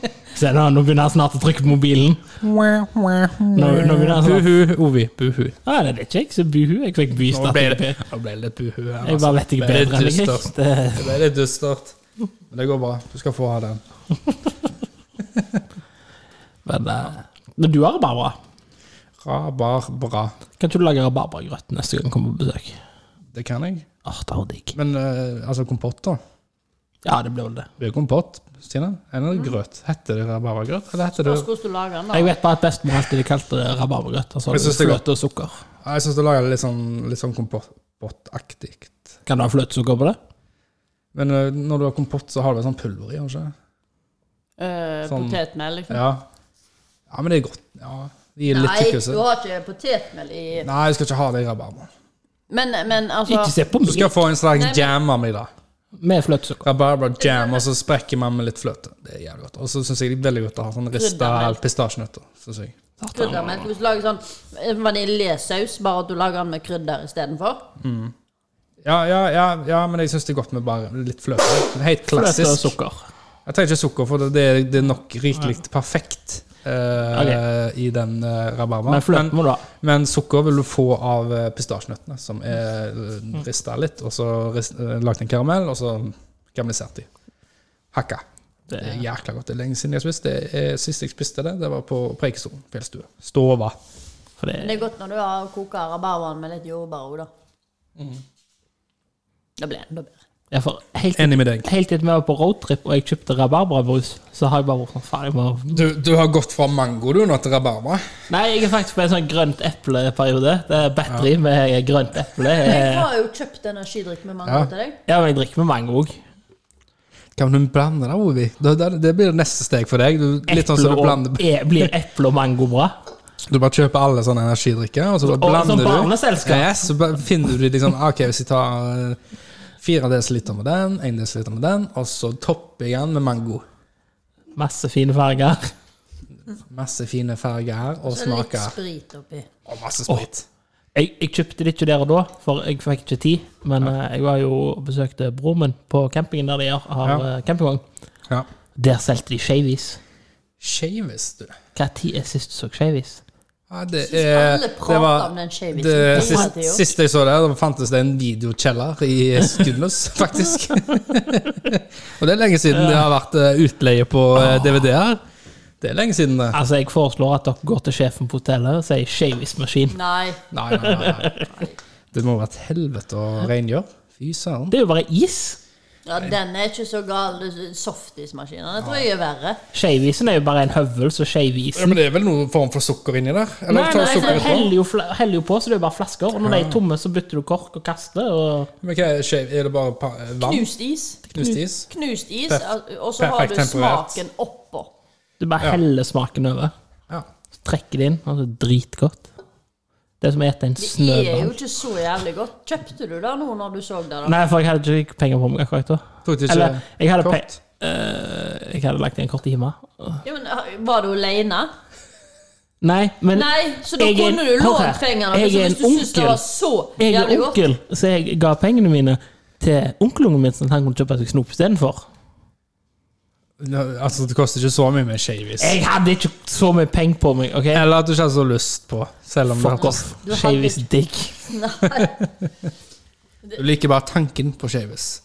S3: Se nå, nå begynner jeg snart å trykke på mobilen. Nå, nå begynner sånn. jeg snart.
S1: Buhu, Ovi. Buhu.
S3: Ja, det er ikke jeg som buhu. Jeg fikk
S1: Nå
S3: bystatus.
S1: ble det,
S3: Jeg
S1: nå ble det litt buhu her. altså.
S3: bare vet
S1: Det
S3: ikke
S1: er
S3: bedre enn jeg.
S1: dystert.
S3: Det,
S1: Det ble litt dystert. Men det går bra. Du skal få ha den.
S3: men, eh, men du har rabarbra.
S1: Rabarbra.
S3: Kan ikke du lage rabarbragrøt neste gang du kommer på besøk?
S1: Det kan jeg.
S3: Åh, det var digg.
S1: Men eh, altså kompott, da.
S3: Ja, det blir vel det.
S1: Det er jo kompott, Stine. Eller grøt. Heter det rabarbragrøt? Eller heter det
S2: Hvordan skulle du lage den,
S3: Jeg
S2: da?
S3: vet bare at bestemor alltid kalte det rabarbragrøt. Altså,
S1: Jeg synes det er godt.
S3: fløte og sukker.
S1: Ja, Jeg syns du lager det litt sånn, litt sånn kompottaktig.
S3: Kan du ha fløtesukker på det?
S1: Men eh, når du har kompott, så har du sånn pulver i, har du ikke?
S2: Eh,
S1: Sånn.
S2: Potetmel, liksom?
S1: Ja. ja, men det er godt. Ja, De er litt
S2: Nei,
S1: tykkelse.
S2: du har ikke potetmel i
S1: Nei, jeg skal ikke ha det i rabarbra.
S2: Men, men altså
S3: Ikke se på
S1: Du skal
S3: meg
S1: jeg få en
S2: Nei,
S1: slags
S2: men-
S1: jam av meg, da.
S3: med fløtesukker.
S1: Rabarbra-jam, og så sprekker man med litt fløte. Det er jævlig godt. Og så syns jeg det er veldig godt å ha sånn rista
S2: Kryddermelk.
S1: pistasjenøtter. synes jeg.
S2: kryddermelk. Hvis du lager sånn vaniljesaus, bare at du lager den med krydder istedenfor.
S1: Ja, ja, ja, ja, men jeg syns det er godt med bare litt fløte. Helt
S3: Fløte og
S1: klassisk.
S3: sukker.
S1: Jeg trenger ikke sukker, for det, det, er- det er nok rikelig perfekt eh, i den uh,
S3: Men
S1: rabarbraen.
S3: fløte må du ha.
S1: Men sukker vil du få av eh, pistasjenøttene, som er eh, rista litt, og så rist, eh, lagt en karamell, og så karamellisert i. Hakka. Det er jækla godt. Det er lenge siden jeg har spist det. Eh, Sist jeg spiste det, det var på Preikestolen fjellstue. Stova.
S3: For
S2: Men
S3: det,
S2: det er godt når du
S1: Mhm.
S2: har koka rabarbraen med litt jordbær òg, da. Da blir det enda bedre.
S3: Ja, for helt,
S1: Enig med deg.
S3: helt til vi var på roadtrip og jeg kjøpte rabarbrabrus, så har jeg bare vært sånn Faen, jeg må
S1: Du, du har gått fra mango du nå til rabarbra.
S3: Nei, jeg er faktisk på en sånn grønt eple-periode. Det er battery med grønt eple.
S2: Jeg
S3: Jeg-
S2: har jo kjøpt energidrikk med mango
S1: Eh. Ja.
S2: til deg.
S3: Ja, men jeg drikker med mango òg.
S1: Kan du blande det, Ovi? Det, det, det blir neste steg for deg. Du, litt sånn som du blander
S3: e- Blir eple og mango bra?
S1: Du bare kjøper alle sånne energidrikker, og så bare
S3: Og som
S1: blander du.
S3: barneselskap.
S1: Yes, så bare finner du de liksom Ok, hvis jeg tar eh, fire dl med den, én dl med den, og så topper jeg den med mango.
S3: Masse fine farger.
S1: Masse fine farger her, og
S2: Så er det litt
S1: smaker.
S2: sprit oppi.
S1: Og masse sprit.
S3: Jeg, jeg kjøpte det ikke der og da, for jeg fikk ikke tid. Men eh, jeg var jo og besøkte broren min på campingen der de har, har
S1: Ja.
S3: eh, campingvogn.
S1: Ja.
S3: Der solgte de skeivis.
S1: Shavis, du.
S3: Når er sist du så skeivis?
S1: Ja, det,
S2: Syns
S1: er-
S2: alle prater
S1: det var-
S2: om den shavis.
S1: Det,
S2: Jeg
S1: sist,
S2: hadde jo.
S1: sist jeg så det, da fantes det en videokjeller i Skudenes, faktisk. og det er lenge siden det har vært eh, utleie på eh, DVD-er. Det er lenge siden eh. det.
S3: Altså, jeg foreslår at dere går til sjefen på hotellet og sier skeivismaskin.
S2: Nei.
S1: Nei, nei, nei, nei. Det må være et helvete å rengjøre. Fy søren.
S3: Det er jo bare is.
S2: Ja, den er ikke så gal. Det- Softismaskinene tror jeg er verre.
S3: Skeivisen er jo bare en høvel, så skeivis
S1: Ja, men det er vel noen form for sukker inni der?
S3: Nei,
S1: Eller
S3: nei,
S1: tar du
S3: nei,
S1: sukker
S3: jeg
S1: ut nå?
S3: heller jo, fla- heller jo på, så det er jo bare flasker. Og når de er tomme, så bytter du kork og kaster. Og
S1: Men hva er, skjev- er det bare pa- eh, vann?
S2: Knust is.
S1: Knust is?
S2: Knust is,
S1: Perf-
S2: al- og så har
S1: perfekt
S2: du
S1: temperert.
S2: smaken oppå.
S3: du bare heller smaken over.
S1: Ja.
S3: Så trekker det inn. Altså, dritgodt. Det er som å ete en
S2: Det er jo
S3: snøball.
S2: ikke så jævlig godt. Kjøpte du det nå når du så det? da?
S3: Nei, for jeg hadde ikke penger på meg akkurat da.
S1: Tok du ikke
S3: Eller, jeg hadde, pe
S1: kort?
S3: Eh, jeg hadde lagt igjen kortet hjemme.
S2: Ja, men, eh, var du aleine?
S3: Nei, men
S2: Nei, så da
S3: Jeg er en-
S2: kunne du
S3: Hør
S2: lånt
S3: her.
S2: pengene.
S3: Jeg
S2: så
S3: er
S2: Hvis
S3: en
S2: du syns det
S3: onkel.
S2: var så
S3: jeg er
S2: jævlig godt.
S3: onkel, så jeg ga pengene mine til onkelungen min, sånn at han kunne kjøpe seg snop istedenfor.
S1: Nå, Altså, det koster ikke så mye med shavis.
S3: Jeg hadde ikke så mye penger på meg, OK?
S1: Eller at du ikke har så lyst på, selv om du,
S3: Fuck
S1: har-
S3: off.
S2: Du hadde-
S3: Shavis dick.
S2: Nei,
S1: du liker bare tanken på shavis.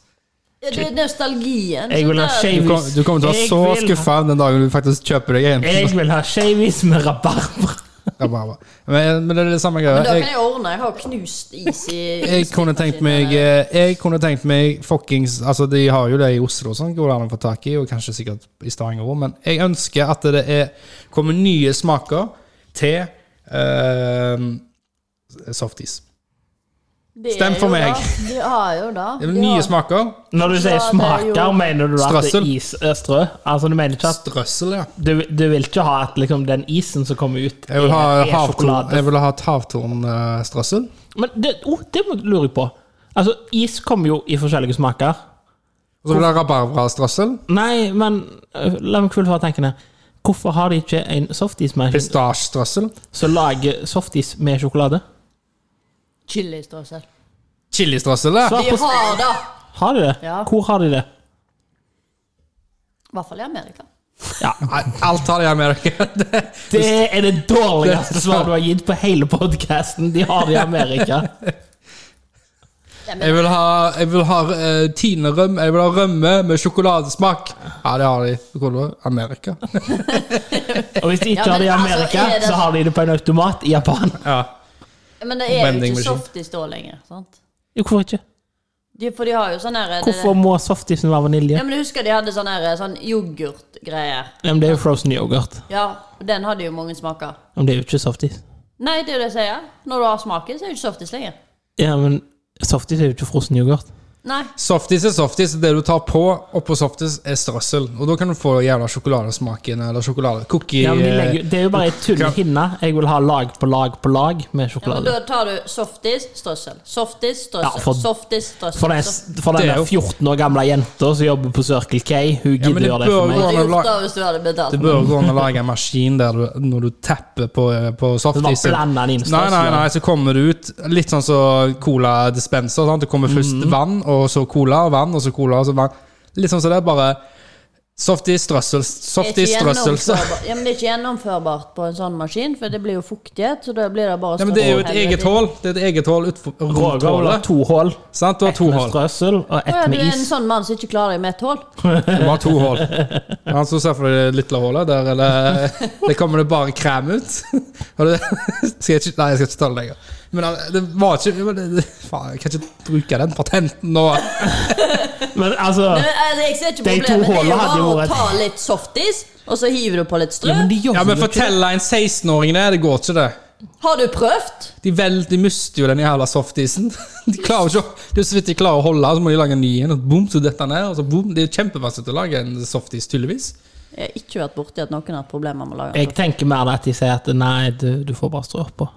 S2: det er nostalgien.
S3: Jeg vil ha
S2: så det-
S1: Du, kom,
S3: shavis.
S1: du kommer til å være
S3: Jeg
S1: så
S3: vil ha-
S1: skuffa den dagen du faktisk kjøper deg en.
S3: Jeg vil ha shavis med rabarbra.
S1: Rabarbra. Men, men det er det samme greia.
S2: Men da kan
S1: Jeg,
S2: jeg ordne. Jeg har knust is i
S1: jeg kunne tenkt meg eh, Jeg kunne tenkt meg fuckings Altså, de har jo det i Oslo, sånn, går det an å få tak i, og kanskje sikkert i Stavanger òg, men jeg ønsker at det er, kommer nye smaker til eh, softis.
S2: eh, Det er
S1: eh, Stem for
S2: jo
S1: meg.
S2: da- De har jo da.
S1: Det er nye smaker.
S3: Når du sier
S2: Ja, det er
S3: smaker,
S2: jo-
S3: mener du at det er
S1: Strøssel.
S3: is er strø? Altså, du mener ikke at
S1: Strøssel, ja.
S3: du, du vil ikke ha at liksom, den isen som kommer ut,
S1: Jeg vil ha
S3: er, er
S1: havtorn-
S3: sjokolade?
S1: jeg vil ha et eh, havtornstrøssel.
S3: Men det, oh, det må- lurer jeg på. Altså, is kommer jo i forskjellige smaker.
S1: Og så vil jeg ha rabarbrastrøssel.
S3: Nei, men øh, la meg fullføre tanken her. Hvorfor har de ikke en softismaskin
S1: Pistasjestrøssel.
S3: som lager softis med sjokolade?
S2: Chilistrøssel.
S1: Chilistrøssel, ja.
S3: Svar
S2: De
S3: på
S2: har da
S3: Har de det?
S2: Ja.
S3: Hvor har de det?
S2: I hvert fall i Amerika.
S3: Ja.
S1: Nei, Alt har de her med dere. Det-
S3: Det er det dårligste svaret du har gitt på hele podkasten. De har det i Amerika.
S1: Jeg vil ha, jeg vil ha eh, Tine rømme Jeg vil ha rømme med sjokoladesmak. Ja, det har de. Hvor er det? Amerika.
S3: Og hvis de ikke har
S2: Ja,
S3: det i
S2: men altså,
S3: Amerika,
S2: er det-
S3: så har de det på en automat i Japan.
S1: Ja.
S2: Men det er jo
S1: Vending
S2: ikke
S1: machine.
S2: softis da lenger. sant?
S3: Jo, hvorfor ikke?
S2: De, for de har jo sånn her det-
S3: Hvorfor må softisen være vanilje?
S2: Ja, men jeg husker de hadde sånn her sånn yoghurtgreier.
S3: Jamen, det er jo frozen yoghurt.
S2: Ja, og den hadde jo mange smaker.
S3: Jamen, det er jo ikke softis.
S2: Nei, det er jo det jeg sier. Når du har smaken, så er det ikke softis lenger.
S3: Ja, men softis er jo ikke frossen yoghurt.
S2: Nei.
S1: Softis er softis. Det du tar på oppå softis, er strøssel. Og da kan du få jævla sjokoladesmaken eller sjokoladecookie.
S3: Ja, men de legger, det er jo bare en tullhinne. Jeg vil ha lag på lag på lag med
S2: Ja, men
S3: sjokolade.
S2: da tar du softis, strøssel. Softis, strøssel.
S3: Ja, for-
S2: softis, strøssel.
S3: For den,
S2: Soft-
S3: for den
S1: Det er
S3: der
S1: jo-
S3: 14 år gamle jenta som jobber på Circle K, hun
S1: Ja, men
S3: gidder
S1: det
S3: gjøre det for
S1: bør
S3: meg.
S1: gå-
S2: Det er
S1: lag-
S2: gjort da hvis du hadde betalt.
S1: Det bør gå an å lage en maskin der du, når du tapper på, på softisen
S3: bare blander den inn,
S1: Nei, nei,
S3: strøsselen.
S1: nei, så kommer det ut litt sånn som så coladispenser. sant? Det kommer
S3: Mhm.
S1: først vann, og så cola, og vann, og så cola, og så vann. Litt sånn som det, bare softis, strøssel,
S2: Det er ikke
S1: softis, strøssel. så-
S2: gjennomførbart- Ja, men det er ikke gjennomførbart på en sånn maskin, for det blir jo fuktighet, så da blir det bare
S1: Nei, men det er jo et
S2: strøssel.
S1: eget hull. Det er et eget hull utenfor rundt
S3: Roger vil ha
S1: hullet.
S3: to hull.
S1: Sant? Du har
S3: Ett
S1: to
S3: med
S1: hull.
S3: strøssel og
S2: Å ja,
S3: ett
S2: du
S3: med
S2: er en
S3: is.
S2: sånn mann som ikke klarer deg med et hull?
S1: Du har to hull. Ja, så ser du for deg det lille hullet. Der er det, det kommer det bare krem ut. Og det, skal jeg ikke, nei, jeg skal ikke ta det eh, lenger. Men det var ikke men det, Faen, jeg kan ikke bruke den patenten nå.
S3: Men altså
S2: sånn- Nei, men, altså, jeg ser ikke
S3: De to
S2: problemet. Det er
S3: hålene
S2: jo
S3: hadde jo
S2: bare å
S3: vært-
S2: ta litt softis, og så hiver du på litt strø.
S3: Ja, men de gjør
S1: Ja, men
S3: jo ikke det.
S1: fortell en 16-åring det. Det går ikke, det.
S2: Har du prøvd?
S1: De, vel, de mister jo den jævla softisen. De klarer jo ikke, å- det er jo så vidt de klarer å holde, så må de lage en ny en, og boom, så detter den ned. Og så boom. Det er kjempevanskelig å lage en softis, tydeligvis.
S2: Jeg har ikke vært borti at noen har hatt problemer med å lage
S3: Jeg tenker mer at de sier at nei, du, du får bare strø på.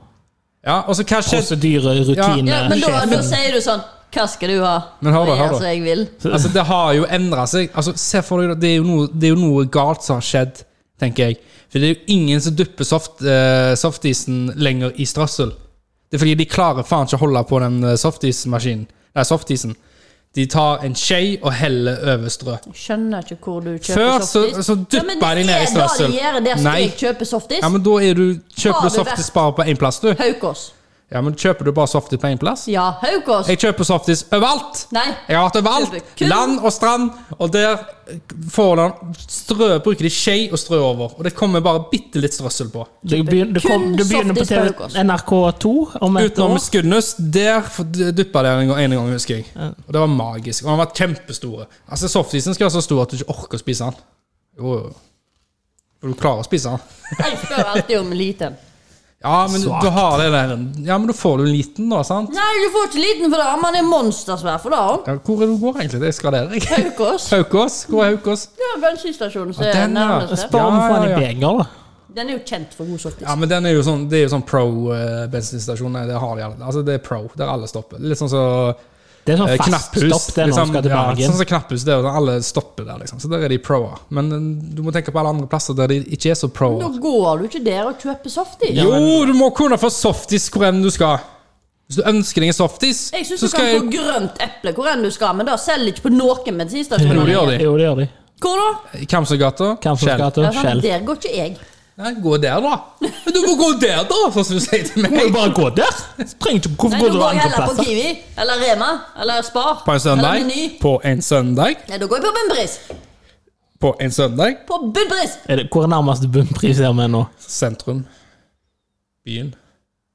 S1: Ja, og så hva skjedde?
S3: Prosedyre, rutine,
S2: Ja, men da,
S3: sjefen.
S2: da sier du sånn Hva skal du ha?
S1: Men hør da, hør da.
S2: Altså, jeg vil.
S1: Altså, det har jo endra seg. Altså, se for deg, da, det er, jo noe, det er jo noe galt som har skjedd, tenker jeg. For det er jo ingen som dupper soft, eh, softisen lenger i strøssel. Det er fordi de klarer faen ikke å holde på den eh, softismaskinen. Nei, softisen. De tar en skje og heller over strø.
S2: Jeg skjønner ikke hvor du kjøper
S1: Før så,
S2: softis.
S1: så duppa de ned i strøssel.
S2: Ja, men det er da de gjør det, så
S1: Nei.
S2: jeg kjøper softis.
S1: Ja, men da er du,
S2: Har
S1: kjøper
S2: du
S1: du softis bare på én plass, du.
S2: Haukås.
S1: Ja, men kjøper du bare softis på én plass?
S2: Ja, Haukås.
S1: Jeg kjøper softis overalt!
S2: Nei.
S1: Jeg har vært overalt.
S2: Kun-
S1: Land og strand. Og der får den strø, bruker de skje og strø over. Og det kommer bare bitte litt strøssel på.
S3: Du begynner, du
S2: Kun
S3: kom, du begynner på
S2: softis
S3: TV,
S2: frokost.
S3: NRK2 om et
S1: Utenom
S3: år.
S1: Skuddnus. Der duppa det en gang, en gang, husker jeg. Og det var magisk. Og den var kjempestor. Altså, softisen skal være så stor at du ikke orker å spise den. Jo, jo. For du klarer å spise den.
S2: Jeg spør alltid om liten.
S1: Ja, men du, du har det der Ja, men da får du en liten, da, sant?
S2: Nei, du får ikke liten for det. Man er monstersvær for det. har han.
S1: Ja, hvor er du går egentlig? Det skal dere. jeg.
S2: Haukås.
S1: Haukås? Hvor er Haukås?
S2: Ja, bensinstasjonen som
S1: Ja,
S2: er
S1: den, ja.
S2: nærmeste.
S3: Spør om
S1: Ja,
S3: å få en
S1: ja, ja.
S3: beger, da.
S2: Den er jo kjent for god softis.
S1: Ja, men den er jo sånn, det er jo sånn pro-bensinstasjon. det har de alle. Altså, det er pro, der alle stopper. Litt sånn som så,
S3: Det er sånn
S1: eh,
S3: fast
S1: knapphus.
S3: stopp det er når du
S1: liksom,
S3: skal til
S1: ja,
S3: Bergen.
S1: sånn som knapphus, det er jo sånn, alle stopper der, liksom. Så der er de pro-er. Men eh, du må tenke på alle andre plasser der de ikke er så
S2: Da
S1: pro-er.
S2: går du ikke der og kjøper softis.
S1: Jo, du må kunne få softis hvor enn du skal. Hvis du ønsker deg en softis,
S2: Jeg syns
S1: så
S2: du kan
S1: skal jeg
S2: få grønt eple hvor enn du skal, men det selger ikke på noen
S1: Jo, det
S2: bensinstasjoner.
S1: gjør de.
S3: Jo, det gjør de.
S2: Hvor da?
S1: Kamsøygata. Skjell.
S3: Kamfersgata,
S2: Ja, sånn sant,
S3: Skjell.
S2: der går ikke jeg.
S1: Nei, gå der, da. Men du må gå der, da, sånn som du sier til
S3: Må
S1: meg.
S3: jo bare gå der! Trenger ikke Hvorfor
S2: Nei,
S3: går du
S2: Da går jeg
S3: andre
S2: heller på
S3: plasser?
S2: Kiwi eller Rema eller Spar.
S1: På en
S2: Eller
S1: søndag.
S2: Meny.
S1: På en søndag.
S2: Nei, da går jeg på Bunnpris.
S1: På en søndag.
S2: På Bunnpris!
S3: Er det- Hvor er nærmeste bunnpris her med nå?
S1: Sentrum. Byen.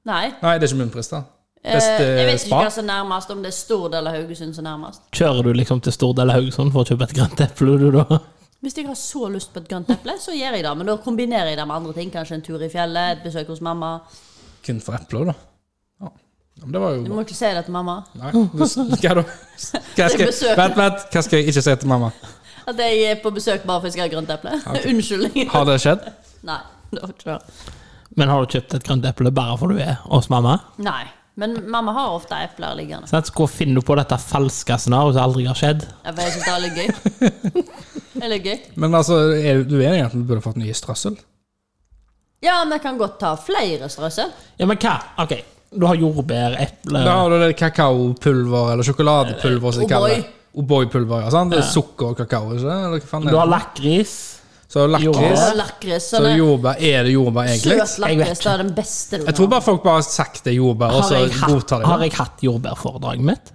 S2: Nei.
S1: Nei, det er ikke munnpris, da.
S2: Eh, jeg
S1: Beste
S2: vet ikke
S1: spa.
S2: hva som er nærmest, om det er Stord eller Haugesund som er nærmest.
S3: Kjører du liksom til Stord eller Haugesund for å kjøpe et grønt eple, du, da?
S2: Hvis jeg har så lyst på et grønt eple, så gjør jeg det. Men da kombinerer jeg det med andre ting. Kanskje en tur i fjellet, et besøk hos mamma.
S1: Kun for epler, da. Ja. Ja, Men det var jo
S2: Du
S1: bra.
S2: må ikke si det til mamma.
S1: Nei, du- hva da? Hva skal,
S2: Det er besøk.
S1: vent, vent, hva skal jeg ikke si til mamma?
S2: At jeg er på besøk bare for jeg skal ha grønt eple. Unnskyldning.
S1: Har det skjedd?
S2: Nei, det var ikke det.
S3: Men har du kjøpt et grønt eple bare for du er hos mamma?
S2: Nei, men mamma har ofte epler liggende.
S3: Sånn, så hvor finner du på dette falske scenarioet som aldri har skjedd?
S2: Ja, for Jeg synes det er litt gøy. Det er litt gøy.
S1: Men altså, er du enig i at vi burde fått nye strøssel?
S2: Ja, vi kan godt ta flere strøssel.
S3: Ja, men hva? Ok, du har jordbær, eple
S1: Da har du det kakaopulver, eller sjokoladepulver, som de kaller det.
S2: O'boy.
S1: O'boy-pulver, ja. sant? Det er Sukker og kakao, ikke sant? Eller hva faen
S3: Eh. Du har
S1: er det?
S3: lakris.
S1: Så
S2: Og
S1: lakris.
S3: Jordbær.
S2: lakris.
S1: Så
S2: Sånn
S1: jordbær Er det jordbær, egentlig?
S2: søt lakris. Det er den beste du
S1: Jeg tror bare folk bare har sagt det er jordbær, og
S3: Har
S1: så
S3: jeg hatt,
S1: godtar
S3: har
S1: de det.
S3: jeg hatt jordbærforedraget mitt?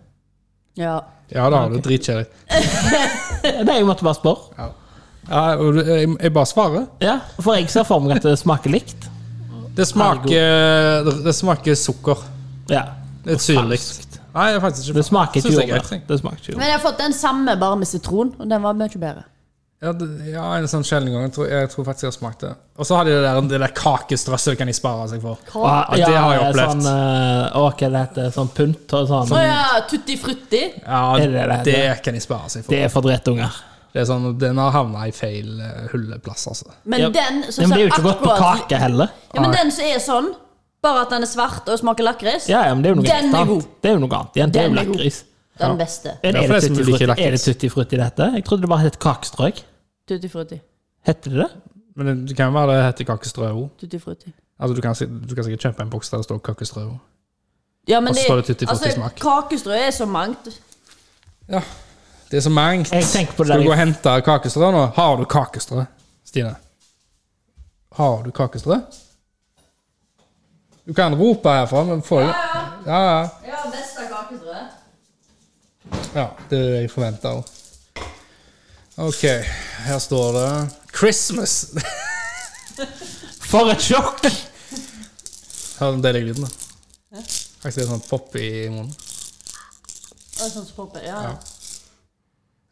S2: Ja.
S1: Ja, det har du. Dritkjedelig.
S3: Det jeg måtte bare spørre.
S1: Ja, og du- jeg jeg bare svarer.
S3: Ja, For jeg ser for meg at det smaker likt.
S1: Det smaker, eh, det smaker sukker.
S3: Ja.
S1: Det er syrlig. Nei, det er faktisk ikke
S3: Det smaker ikke
S1: Synes jeg er greit,
S3: jordbær.
S1: jeg.
S3: Det smaker ikke jordbær.
S2: Men jeg har fått den samme bare med sitron, og den var mye bedre.
S1: Ja, det, ja, en sånn sjelden gang. Jeg tror, jeg tror faktisk jeg har smakt det. Og så har de det der, det der kakestrøsset kan de spare seg for.
S2: Hva?
S1: Ja, Ah, det har jeg opplevd.
S3: Sånn, eh, å, hva det heter Sånn pynt og sånn.
S2: Å ja, tutti frutti.
S1: Ja,
S3: Er
S1: det,
S3: det det?
S1: kan de spare seg for.
S3: Det er for drittunger.
S1: Det er sånn, Den har havna i feil eh, hulleplass, altså.
S2: Men
S3: Ja.
S2: den som
S3: Men det er jo
S2: ser
S3: ikke godt på
S2: akkurat-
S3: kake heller.
S2: Ja, men den som er sånn, bare at den er svart og smaker lakris,
S3: Ja, ja, men det er jo noe
S2: Den er
S3: helt
S2: god.
S3: annet. Det er jo noe annet igjen. Det er jo
S2: Den er god.
S3: lakris.
S2: den beste.
S3: Er
S1: Ja,
S3: det,
S1: for det er som
S3: tutti
S1: du liker
S3: frutti-
S1: lakris.
S3: er det tutti frutti i dette? Jeg trodde det bare het kakestrøk.
S2: Tutti frutti.
S3: Heter det det?
S1: Men det, det kan være det heter kakestrø òg.
S2: Tutti frutti.
S1: Altså, du, kan si- du kan sikkert kjøpe en boks der det står kakestrø òg.
S2: Ja, men
S1: Og så
S2: det,
S1: står det tutti frutti
S2: altså,
S1: smak.
S2: kakestrø er så mangt.
S1: Ja. Det er så mangt.
S3: Jeg tenker på det
S1: Skal
S3: der-
S1: du gå og hente kakestrø nå? Har du kakestrø, Stine? Har du kakestrø? Du kan rope herfra, men får du Ja, ja.
S2: Ja, beste kakestrø.
S1: Ja, det er det jeg forventa òg. OK, her står det Christmas.
S3: For et sjokk!
S1: Hør den deilige lyden, da. Faktisk er det sånn pop i munnen.
S2: Å, sånn som popper, ja.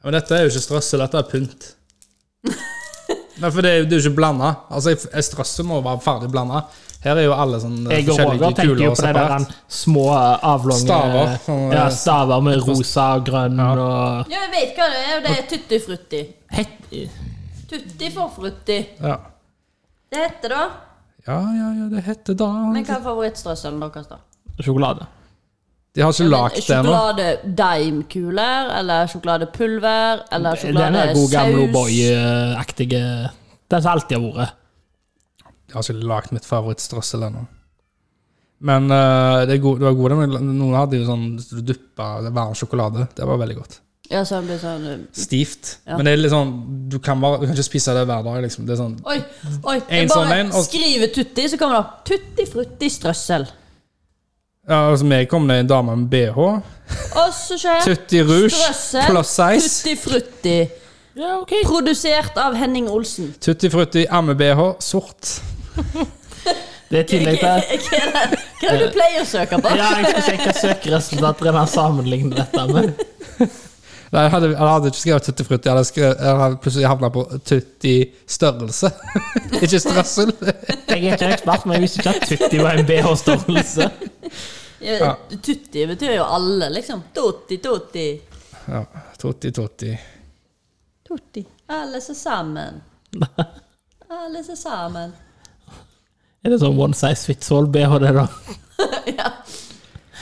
S1: Men dette er jo ikke strøssel, dette er pynt. Nei, for det er jo det er jo ikke blanda. Altså, jeg- jeg strøssel må være ferdig blanda. Her er jo alle sånne
S3: Jeg og Roger
S1: forskjellige
S3: tenker jo
S1: kuler
S3: på de der
S1: separert.
S3: små, avlange
S1: Staver, sånn,
S3: ja,
S1: eh,
S3: staver med rosa og grønn og
S2: Ja, jeg vet hva det er. og Det er tuttifrutti.
S3: Hett,
S2: Tutti forfrutti.
S1: Ja.
S2: Det heter det. da.
S1: ja, ja, ja, det heter da
S2: Men hva er favorittstrøsselen deres, da?
S3: sjokolade.
S1: De har ikke lagd det ennå.
S2: Sjokoladedeimkuler, eller sjokoladepulver, eller
S3: Den er god
S2: sjokoladesaus.
S3: gamle O'boy-aktige Den som alltid har vært.
S1: Jeg har ikke lagd mitt favorittstrøssel ennå. Men eh, det, er god, det var gode, men noen hadde jo sånn du duppa det var sjokolade. Det var veldig godt.
S2: Ja, så den blir sånn eh,
S1: Stivt.
S2: Ja.
S1: Men det er litt sånn, du kan, bare, du kan ikke spise det hver dag. liksom. Det er sånn,
S2: Oi, oi.
S1: En
S2: Jeg
S1: sånn
S2: bare
S1: en, og-
S2: skriver tutti, så kommer det opp tuttifrutti-strøssel.
S1: ja, altså, meg kom det en dame med bh.
S2: Og så skjer
S1: Tutti rouge,
S2: Strøssel.
S1: plus size.
S2: tuttifrutti.
S3: Ja, ok.
S2: Produsert av Henning Olsen.
S1: Tutti frutti, amme-bh, sort.
S3: Det er i tillegg
S2: Hva
S3: til
S2: er det hva er det du pleier å søke på?
S3: Ja, jeg skal sjekke søkeresultater når han sammenligner dette med
S1: Nei, jeg hadde, jeg hadde ikke skrevet tutti frutti, jeg hadde, skrevet, jeg hadde plutselig havna på tutti størrelse. ikke strøssel.
S3: Jeg er ikke ekspert, men jeg visste ikke at Tutti var en BH-størrelse.
S2: Ja, tutti betyr jo alle, liksom. Tutti, tutti.
S1: ja, tutti tutti.
S2: Tutti. Alle så sammen. Alle så sammen.
S3: Er det sånn one size fits all-BH, det, da?
S2: ja.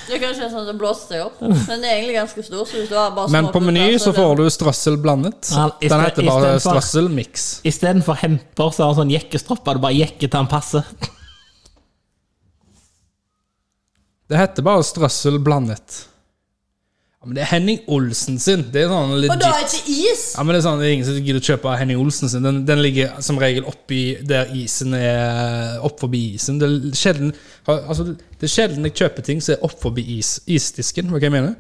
S2: Det er kanskje sånn at det blåser seg opp, men det er egentlig ganske stor. Så hvis du har bare små
S1: Men på
S2: pupper,
S1: meny så
S2: det-
S1: får du strøssel blandet.
S3: Ja, i
S1: Den
S3: sted-
S1: heter
S3: i
S1: bare
S3: stedet for-
S1: strøsselmiks.
S3: Istedenfor hemper, så har han sånn jekkestropper. Det bare jekker til han passer.
S1: Det heter bare strøssel blandet. Ja, men det er Henning Olsen sin. Det er sånn
S2: Og da er
S1: legit.
S2: ikke is!
S1: Ja, men det er sånn, det er ingen som gidder å kjøpe av Henning Olsen sin. Den, den ligger som regel oppi der isen er opp forbi isen. Det er sjelden, altså, det er sjelden jeg kjøper ting som er opp forbi is, isdisken. Hva jeg mener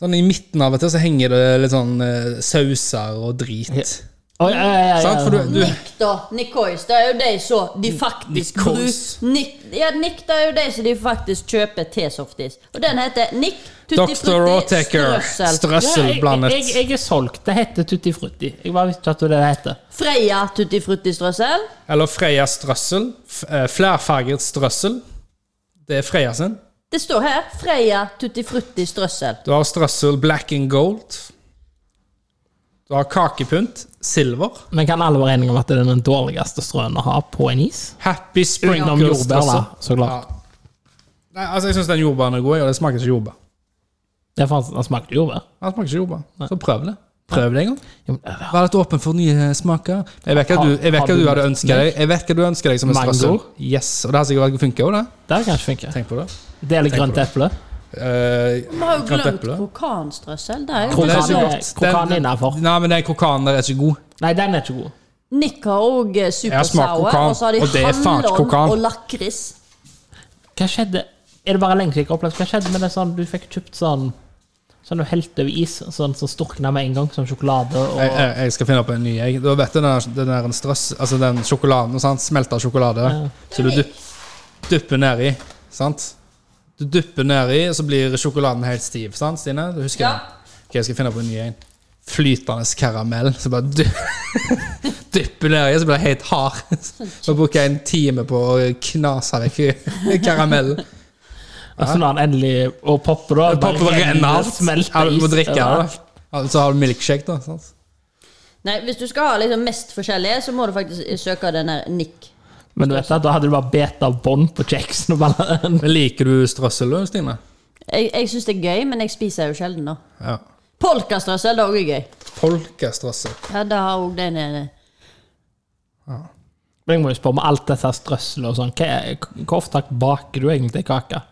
S1: Sånn I midten av og til så henger det litt sånn eh, sauser og drit.
S3: Oi, ja, ja, ja,
S1: Sant? For
S3: ja.
S1: du, du,
S2: Nick, da. Nicoys. Det er jo de så de faktisk
S1: Nicoys.
S2: bru- Nick, ja, Nick det er jo de som de faktisk kjøper til softis. Og den heter Nick Tutti
S1: Dr.
S2: Frutti
S1: Rotaker.
S2: Strøssel.
S1: Strøssel
S3: jeg,
S1: blandet.
S3: jeg, jeg er solgt. Det heter Tutti Frutti. Jeg bare visste ikke at det var det det heter.
S2: Freya Tutti Frutti Strøssel.
S1: Eller Freia Strøssel. F- eh, Flerfarget strøssel. Det er Freia sin.
S2: Det står her Freya Tutti Frutti Strøssel.
S1: Du har strøssel black and gold. Du har kakepynt. Silver.
S3: Men kan alle være enige om at det er den dårligste strøen å ha på en is?
S1: Happy
S3: Utenom
S1: sprinkle
S3: jordbær, da,
S1: strøssel.
S3: så klart.
S1: Nei, altså, jeg syns den jordbæren er god, og det smaker ikke jordbær.
S3: Det er faktisk, den smakte jordbær.
S1: Den smaker ikke jordbær. Så prøv det. Prøv det en gang.
S3: Jo, men, øh,
S1: Vær litt åpen for nye smaker. Jeg vet hva
S3: Har-
S1: du, jeg vet hva
S3: har
S1: du
S3: du
S1: hadde
S3: møtt
S1: ønsket deg Jeg vet hva du ønsker deg som en
S3: Mango?
S1: strøssel. Yes, og det har sikkert funka òg, det.
S3: Det kan ikke funke.
S1: Tenk på det.
S3: Del grønt
S1: på
S3: eple.
S1: Eh,
S2: Vi har jo
S1: grønt
S2: glemt
S1: eple.
S2: krokanstrøssel. Det er jo
S3: Krokan
S1: Men det er ikke
S3: er-
S1: godt.
S3: krokan
S1: Den-
S3: innenfor.
S1: Nei, men den krokanen der er ikke god.
S3: Nei, den er ikke god.
S2: Nick har òg
S1: Jeg har smakt
S2: supersour,
S1: kokan,
S2: og så har de
S1: og det er faen ikke kokan.
S2: hallon og lakris.
S3: Hva skjedde? Er det bare lenge siden jeg har opplevd Hva skjedde med det sånn du fikk kjøpt sånn Sånn du helte over is, sånn som sturkna med en gang, som sjokolade og
S1: Jeg, jeg, jeg skal finne opp en ny. Jeg. Da vet du den der, den der en strøss, altså den sjokoladen, sant? smelta sjokolade, så du dupp, dupper nedi, sant? Du dupper nedi, og så blir sjokoladen helt stiv, sant, Stine? Du husker
S2: Ja.
S1: det? Ok, jeg skal finne opp en ny en. Flytende karamell, så bare du, dupper nedi, så blir det helt hard. Så bruker jeg en time på å knase vekk karamellen.
S3: Og så når han endelig Og popper, da. bare
S1: Popper renner alt. Ja,
S3: Smelter
S1: du må
S3: is.
S1: drikke det. da. Så har du milkshake, da. sant?
S2: Nei, Hvis du skal ha liksom mest forskjellige, så må du faktisk søke den der Nick.
S3: Men du vet at da hadde du bare bet av bånd på kjeksen og bare
S1: Men Liker du strøssel, du, Stine?
S2: Jeg, jeg syns det er gøy, men jeg spiser jo sjelden nå.
S1: Ja.
S2: Polkastrøssel det er òg gøy.
S1: Polkastrøssel.
S2: Ja, det har òg den eh, ene.
S3: Men jeg må jo spørre om alt dette strøsselet og sånn. Hva er- Hvor ofte baker du egentlig kake?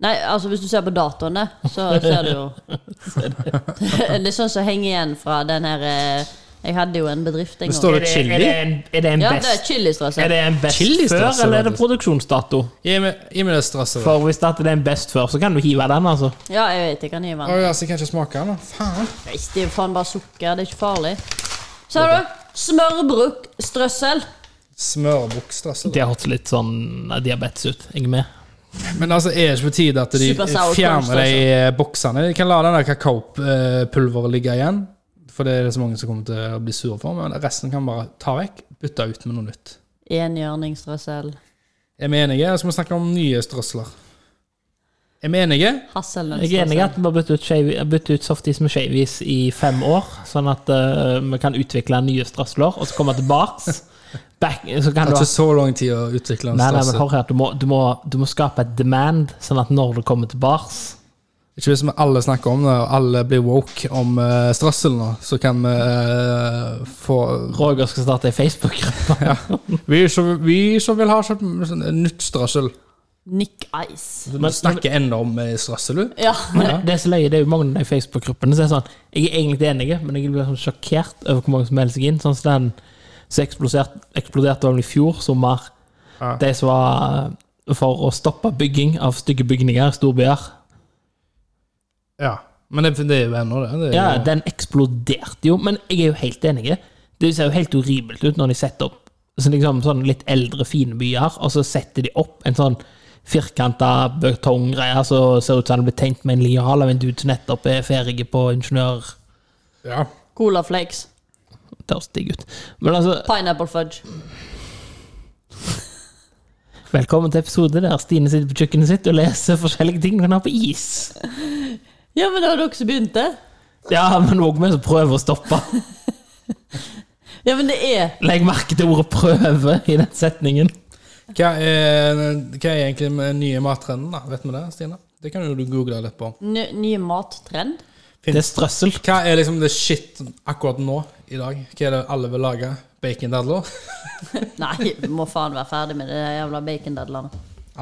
S2: Nei, altså hvis du ser på datoene, så ser du jo Det er sånn som henger igjen fra den her eh, Jeg hadde jo en bedrift en
S1: Det står
S2: gang.
S1: Er det- er det
S3: en, er det en
S2: Ja, det er
S3: Er
S2: chilistrøssel.
S3: det en best
S1: Chili strøssel,
S3: før, eller er det
S1: faktisk.
S3: produksjonsdato?
S1: Gi meg, gi meg det stresset.
S3: For hvis det er en best før, så kan du hive den, altså.
S2: Ja, jeg vet jeg kan gi
S1: Å
S2: den.
S1: ja, så jeg kan ikke smake den, da. Faen.
S2: Nei, Det er jo faen bare sukker. Det er ikke farlig. Så har du smørbrukstrøssel.
S1: Smørbukkstrøssel.
S3: Det hørtes litt sånn diabetes ut. Jeg er med.
S1: Men altså, er det ikke på tide at de
S2: Super sour crunch,
S1: fjerner de
S2: altså.
S1: eh, boksene? De kan la den der kakaopulveret ligge igjen, for det er det så mange som kommer til å bli sure for. Men resten kan bare ta vekk, bytte ut med noe nytt.
S2: Enhjørningstrøssel.
S1: Er vi enige? Eller skal vi snakke om nye strøsler? Er vi enige?
S3: Jeg er enig i
S2: Hasselnøttstrøssel.
S3: at vi har byttet ut, skeiv- byttet ut softis med shavies i fem år, sånn at eh, vi kan utvikle nye strøsler, og så komme tilbake. Back, så
S1: Det
S3: kan
S1: har
S3: du ha
S1: ikke så lang tid å utvikle en
S3: Nei, nei, men
S1: strøssel.
S3: hør her, du må, du, må, du må skape et demand, sånn at når du kommer tilbake
S1: Ikke hvis vi alle snakker om det, og alle blir woke om eh, strøssel nå, så kan vi eh, få
S3: Roger skal starte ei Facebook-gruppe.
S1: Vi som, vi som vil ha sånn nytt strøssel.
S2: Nick Ice.
S1: Du
S3: Men-
S1: snakker ennå om eh, strøssel, du?
S2: Ja.
S3: Men Det er så løye, det er jo mange av de Facebook-gruppene som er sånn Jeg er egentlig enig, men jeg blir sånn sjokkert over hvor mange som melder seg inn. Sånn som den som eksploderte, eksploderte vel i fjor sommer.
S1: Ja.
S3: De som var for å stoppe bygging av stygge bygninger i storbyer.
S1: Ja. Men det, det er jo ennå det. det er jo,
S3: Ja, den eksploderte jo, men jeg er jo helt enig. Det ser jo helt horribelt ut når de setter opp så liksom, sånn litt eldre, fine byer, og så setter de opp en sånn firkanta betonggreie som ser ut som den blir tegnet med en linjal av en dude som nettopp er ferdig på ingeniør...
S1: ja.
S2: Cola flakes.
S3: Tørstig gutt. Men altså,
S2: Pineapple fudge.
S3: velkommen til episode der Stine sitter på kjøkkenet sitt og leser forskjellige ting hun har på is.
S2: Ja, men det var dere som begynte.
S3: Ja, men òg vi som prøver å stoppe.
S2: Ja, men det er
S3: Legg merke til ordet 'prøve' i den setningen.
S1: Hva, er, hva er egentlig den nye mattrenden, da? Vet vi det, Stine? Det kan jo du google litt på.
S2: ny, ny mattrend.
S3: Det er strøssel.
S1: Hva er liksom det shit akkurat nå i dag? Hva er det alle vil lage? Bacondadler?
S2: Nei, vi må faen være ferdig med det jævla bacondadlene.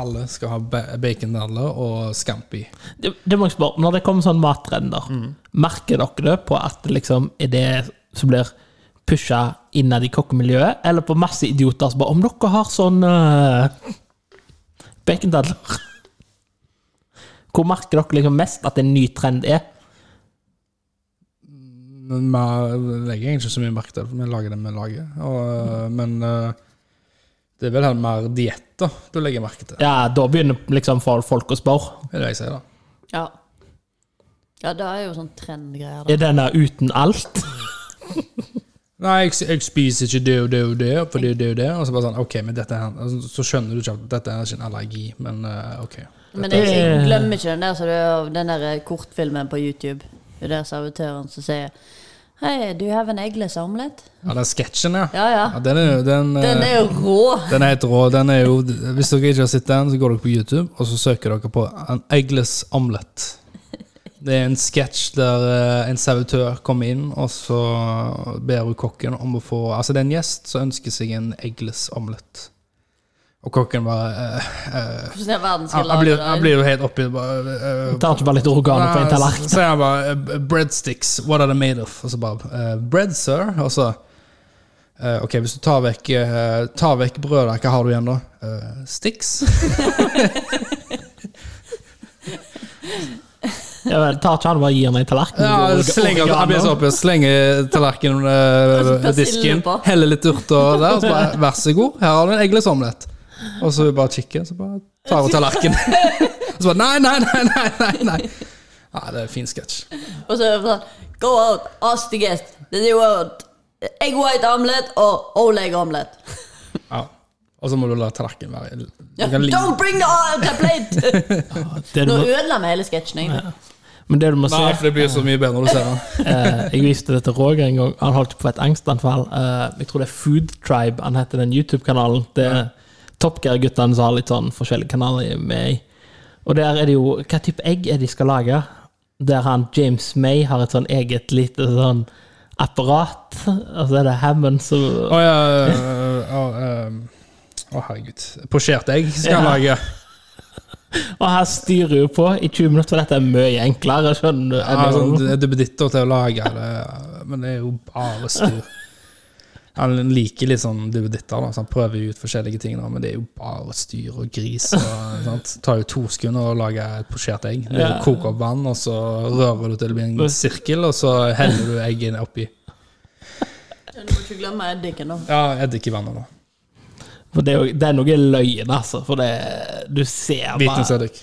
S1: Alle skal ha ba bacondadler og scampi.
S3: Det, det må jeg spørre, Når det kommer sånn mattrender,
S1: Mm.
S3: merker dere det på at det liksom er det som blir pusha innad i kokkemiljøet, eller på masse idioter som bare 'Om dere har sånn uh, bacondadler' Hvor merker dere liksom mest at en ny trend er?
S1: Men vi legger egentlig ikke så mye merke til det, for vi lager det vi lager. Og, men eh, det er vel her mer dietter du legger merke til.
S3: Ja, Da begynner liksom fol- folk å spørre.
S1: Det er det jeg sier, da.
S2: Ja. Ja, det er jo sånn trendgreier. da.
S3: Er denne uten alt?
S1: Nei, jeg, jeg spiser ikke det og det og det, for det og det og det. Og så bare sånn, ok, men dette her, altså, så skjønner du ikke at dette er ikke en allergi, men eh, ok.
S2: Men jeg, jeg glemmer ikke den der, så det er jo den der eh, kortfilmen på YouTube. Det er der servitøren som sier Hei, do you have an eggless omelet?
S1: Ja, den sketsjen, ja.
S2: Ja, ja.
S1: ja den er jo den, eh,
S2: Den er jo rå!
S1: Den er helt rå. Den er jo, hvis dere ikke har sett den, så går dere på YouTube og så søker dere på en eggless omelett. Det er en sketsj der eh, en servitør kommer inn, og så ber hun kokken om å få Altså, det er en gjest som ønsker seg en eggless omelett. Og kokken bare eh,
S2: Hvordan i verden
S1: han,
S2: skal jeg
S1: han,
S2: lage
S1: blir, han
S2: det?
S1: blir jo helt oppi bare eh,
S3: Tar ikke bare litt organer
S1: altså.
S3: på en tallerken?
S1: så sier han bare eh, 'breadsticks, what are they made of?' Og så bare eh, 'bread, sir'. Og så eh, OK, hvis du tar vekk, eh, tar vekk brødet, hva har du igjen da? Eh, sticks.
S3: Ja, vel, Tar ikke han bare gir henne en tallerken?
S1: Ja,
S3: Orga-
S1: slenger, han blir sånn. så
S3: organer?
S1: oppi og slenger tallerkenen
S2: Og så
S1: under
S2: persille
S1: disken.
S2: på.
S1: Heller litt urter der, og så bare 'vær så god, her har du en eggløs omelett'. Og så bare kikker, så bare tar hun tallerkenen. Og så bare 'nei, nei, nei, nei'. nei, nei. Ja, det er en fin sketsj.
S2: Og så er det sånn Go out, ask the guest. Did you want egg white omelet or oleg omelet?
S1: Ja. Og så må du la tallerkenen være du kan ligge-
S2: Don't bring the, the plate!
S3: Det du
S2: Nå
S3: må,
S2: ødela vi hele sketsjen, egentlig.
S3: men det du må se
S1: Nei, for det blir så mye bedre når du ser den.
S3: Eh, jeg viste det til Roger en gang. Han holdt på et angstanfall. Eh, jeg tror det er Food Tribe han heter, den YouTube-kanalen. Det er Top Gear-guttene som har litt sånn forskjellige kanaler med i. Og der er det jo Hva type egg er det de skal lage? Der han James May har et sånn eget lite sånn apparat. Og så er det Hammond som
S1: Å ja øh, Å, øh, å, herregud. Posjert egg skal jeg lage.
S3: Og her styrer jo på i 20 minutter, for dette er mye enklere. Skjønner du?
S1: Ja, sånn duppeditter til å lage det, men det er jo bare styr. Han liker litt sånn duppeditter, da, så han prøver jo ut forskjellige ting, da, men det er jo bare styr og gris. Og, sant? Det tar jo to sekunder å lage et posjert egg. Du
S3: Ja.
S1: koker opp vann, og så rører du til det blir en sirkel, og så heller du eggene oppi.
S2: Du må ikke glemme eddiken, da.
S1: Ja, eddik i vannet, da.
S3: For det er, jo, det er noe løgn, altså. For det, du ser
S1: Viten
S3: bare
S1: Cedric.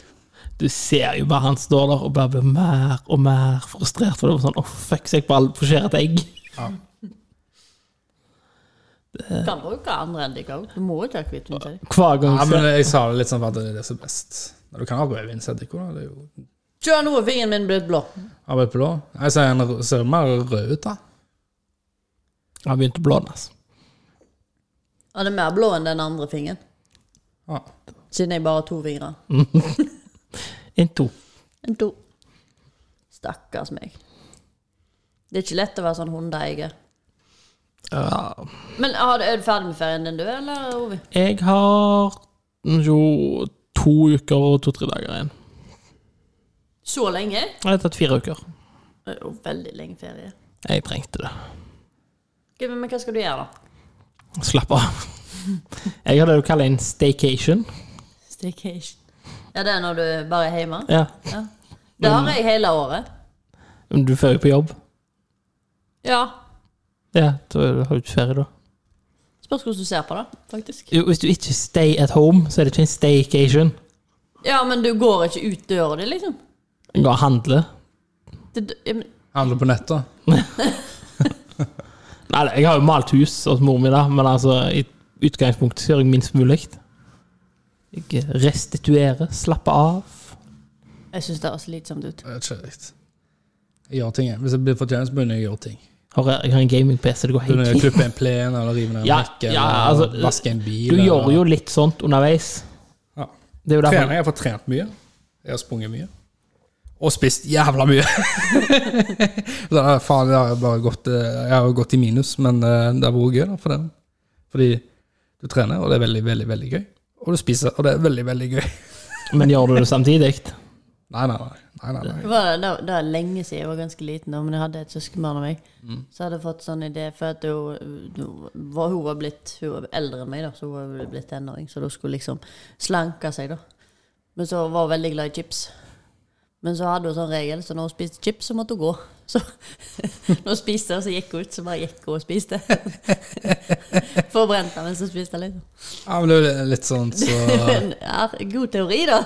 S3: Du ser jo bare han står der og bare blir mer og mer frustrert. For det var sånn Å, fuck, så jeg bare forserer et egg.
S2: Du kan bruke andre enn de kan. Du må jo ikke ha kvitt hund. sier de.
S3: Hver gang
S1: Ja,
S3: du ser-
S1: men jeg sa det litt sånn for at det er det som er best. Nei, Du kan ha rødvin Cedric òg, da. Det er jo
S2: Kjør nå, fingeren min blir blå.
S1: Arbeid på blå. Jeg ser en rød- ser mer rød ut, da.
S3: Han begynte å blåne. Altså.
S2: Han er mer blå enn den andre fingeren.
S1: Ja.
S2: Siden jeg bare har to fingre.
S3: En to.
S2: En to. Stakkars meg. Det er ikke lett å være sånn hundeeier.
S3: Ja.
S2: Men har du er du ferdig med ferien din, du, eller, Ovi?
S3: Jeg har jo to uker og to-tre dager igjen.
S2: Så lenge?
S3: Jeg har tatt fire uker.
S2: Det er jo veldig lenge ferie.
S3: Jeg trengte det.
S2: Ok, Men hva skal du gjøre, da?
S3: Slapp av. Jeg har det du kaller en staycation.
S2: Staycation. Ja, det er når du bare er hjemme?
S3: Ja.
S2: Ja. Det har
S3: Mm.
S2: jeg hele året.
S3: Men du får jo på jobb.
S2: Ja.
S3: Ja, da har du ikke ferie, da.
S2: Spørs hvordan du ser på det, faktisk.
S3: Jo, Hvis du ikke stay at home, så er det ikke en staycation.
S2: Ja, men du går ikke ut døra di, liksom.
S3: Du går og handler.
S2: Det, ja, men-
S1: Handler på nettet.
S3: Nei, nei, jeg har jo malt hus hos mor mi, da, men altså, i utgangspunktet så gjør jeg minst mulig. Jeg restituerer, slapper av.
S2: jeg syns det høres slitsomt ut.
S1: Jeg vet ikke riktig. Jeg gjør ting, jeg. Hvis jeg blir fortjent, så begynner jeg å gjøre ting.
S3: Har, jeg har en gaming-PC, det går helt
S1: Begynner jeg å
S3: fint.
S1: klippe en plen, eller rive ned en
S3: Ja,
S1: hekke,
S3: ja,
S1: eller
S3: altså,
S1: vaske en bil.
S3: Du
S1: eller-
S3: gjør jo litt sånt underveis.
S1: Ja.
S3: Det er jo
S1: Trening,
S3: derfor
S1: jeg har fått trent mye. Jeg har sprunget mye. Og spist jævla mye. så, da, faen, jeg har bare gått, eh, jeg har jo gått i minus, men eh, det har vært gøy. Da, for den. Fordi du trener, og det er veldig, veldig veldig gøy. Og du spiser, og det er veldig, veldig gøy.
S3: Men gjør du det samtidig?
S1: Nei, nei, nei. nei, nei,
S2: Det
S1: nei.
S2: var, det, var- det var lenge siden jeg var ganske liten, da, men jeg hadde et søskenbarn av meg. Så hadde jeg fått sånn idé, for at hun, hun var, hun var blitt hun var eldre enn meg, da, så hun var blitt tenåring. Så da skulle hun liksom slanke seg, da. Men så var hun veldig glad i chips. Men så hadde hun sånn regel, så når hun spiste chips, så måtte hun gå. Så når hun spiste, så gikk hun ut, så bare gikk hun og spiste. Forbrente mens hun spiste, liksom.
S1: Ja, men det er jo litt sånn så
S2: Ja, god teori, da.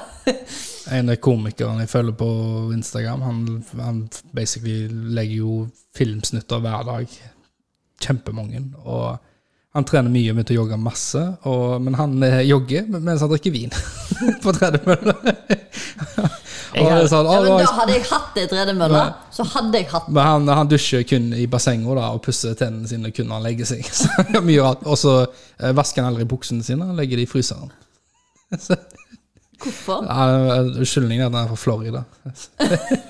S1: En av komikerne jeg følger på Instagram, han, han basically legger jo filmsnutter hver dag. Kjempemange. Og han trener mye, begynte å jogge masse. Og, men han eh, jogger mens han drikker vin på tredemølla.
S3: Jeg
S1: Og det
S3: har-
S1: er sånn,
S2: Ja,
S1: «Å, nå
S2: men
S1: har
S2: da
S1: jeg-
S2: hadde jeg hatt det i tredemølla, så hadde jeg hatt
S1: men han, han dusjer kun i bassenget da, og pusser tennene sine kun når han legger seg. Så han gjør mye rart. Og så eh, vasker han aldri buksene sine, han legger de i fryseren. Så,
S2: Hvorfor?
S1: ja, Unnskyldningen er at han er fra Florida.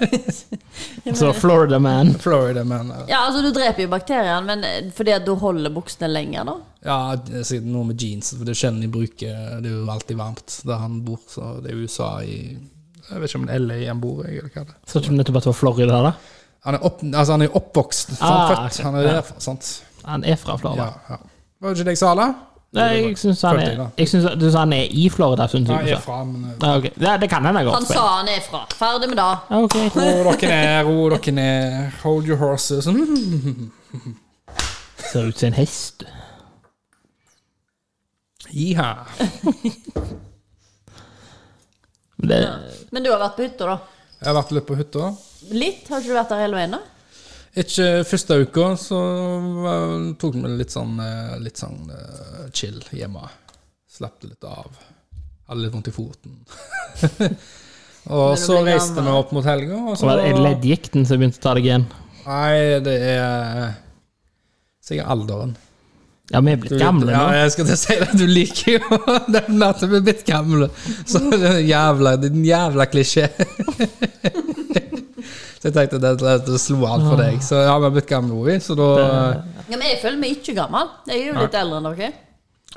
S3: Så Florida Man.
S1: Florida, men eh,
S2: Ja, altså Du dreper jo bakteriene, men eh, fordi at du holder buksene lenger, da?
S1: Ja, det er sikkert noe med jeans, for det er sjelden de bruker Det er jo alltid varmt der han bor, så det er USA i Jeg vet ikke om det er LA han bor i, eller hva det er.
S3: Så ikke du nettopp at det var Florida, da?
S1: Han er, opp, altså han er oppvokst, han
S3: Ah,
S1: er født,
S3: ok.
S1: han er
S3: Ja.
S1: derfra, sant?
S3: Han er fra
S1: Ja,
S3: Florida.
S1: ja. Var det ikke det jeg sa, da?
S3: Nei, jeg syns han
S1: Følte jeg,
S3: er
S1: da.
S3: jeg synes, Du sa han er i Florida, syns du?
S1: Nei, jeg
S3: ikke
S1: er fra, men eh,
S3: Ja, ok. det, det kan hende jeg har gått
S2: Han sa
S3: feil.
S2: han er fra. Ferdig med det.
S3: Ja, ok.
S1: Ro dere ned, ro dere ned. Hold your horses. Mm.
S3: Ser ut som en hest.
S1: Iha.
S3: Men Det,
S2: Men du har vært på hytta, da?
S1: Jeg har vært litt på hytta.
S2: Litt? Har ikke du vært der hele veien, da?
S1: Ikke første uka, så eh, tok vi det litt sånn, eh, litt sånn eh, chill hjemme. Slapp det litt av. Hadde litt vondt i foten. og
S2: det
S1: så
S2: blir
S1: reiste vi
S2: gammel.
S1: opp mot helga, og
S3: så
S1: så
S3: var det leddgikten som begynte å ta deg igjen.
S1: Nei, det er eh, sikkert alderen.
S3: Ja, vi er
S1: Du-
S3: blitt gamle
S1: Ja,
S3: nå.
S1: jeg skal til å si det. Du liker jo å nevne at vi er blitt gamle. Så det er en jævla, det er en jævla klisjé. Så jeg tenkte det, det, det slo an
S3: Ah.
S1: for deg. Så ja, vi har blitt gamle, Ovi, så da
S2: Ja, Men jeg føler meg ikke gammel. Jeg er jo litt eldre enn dere.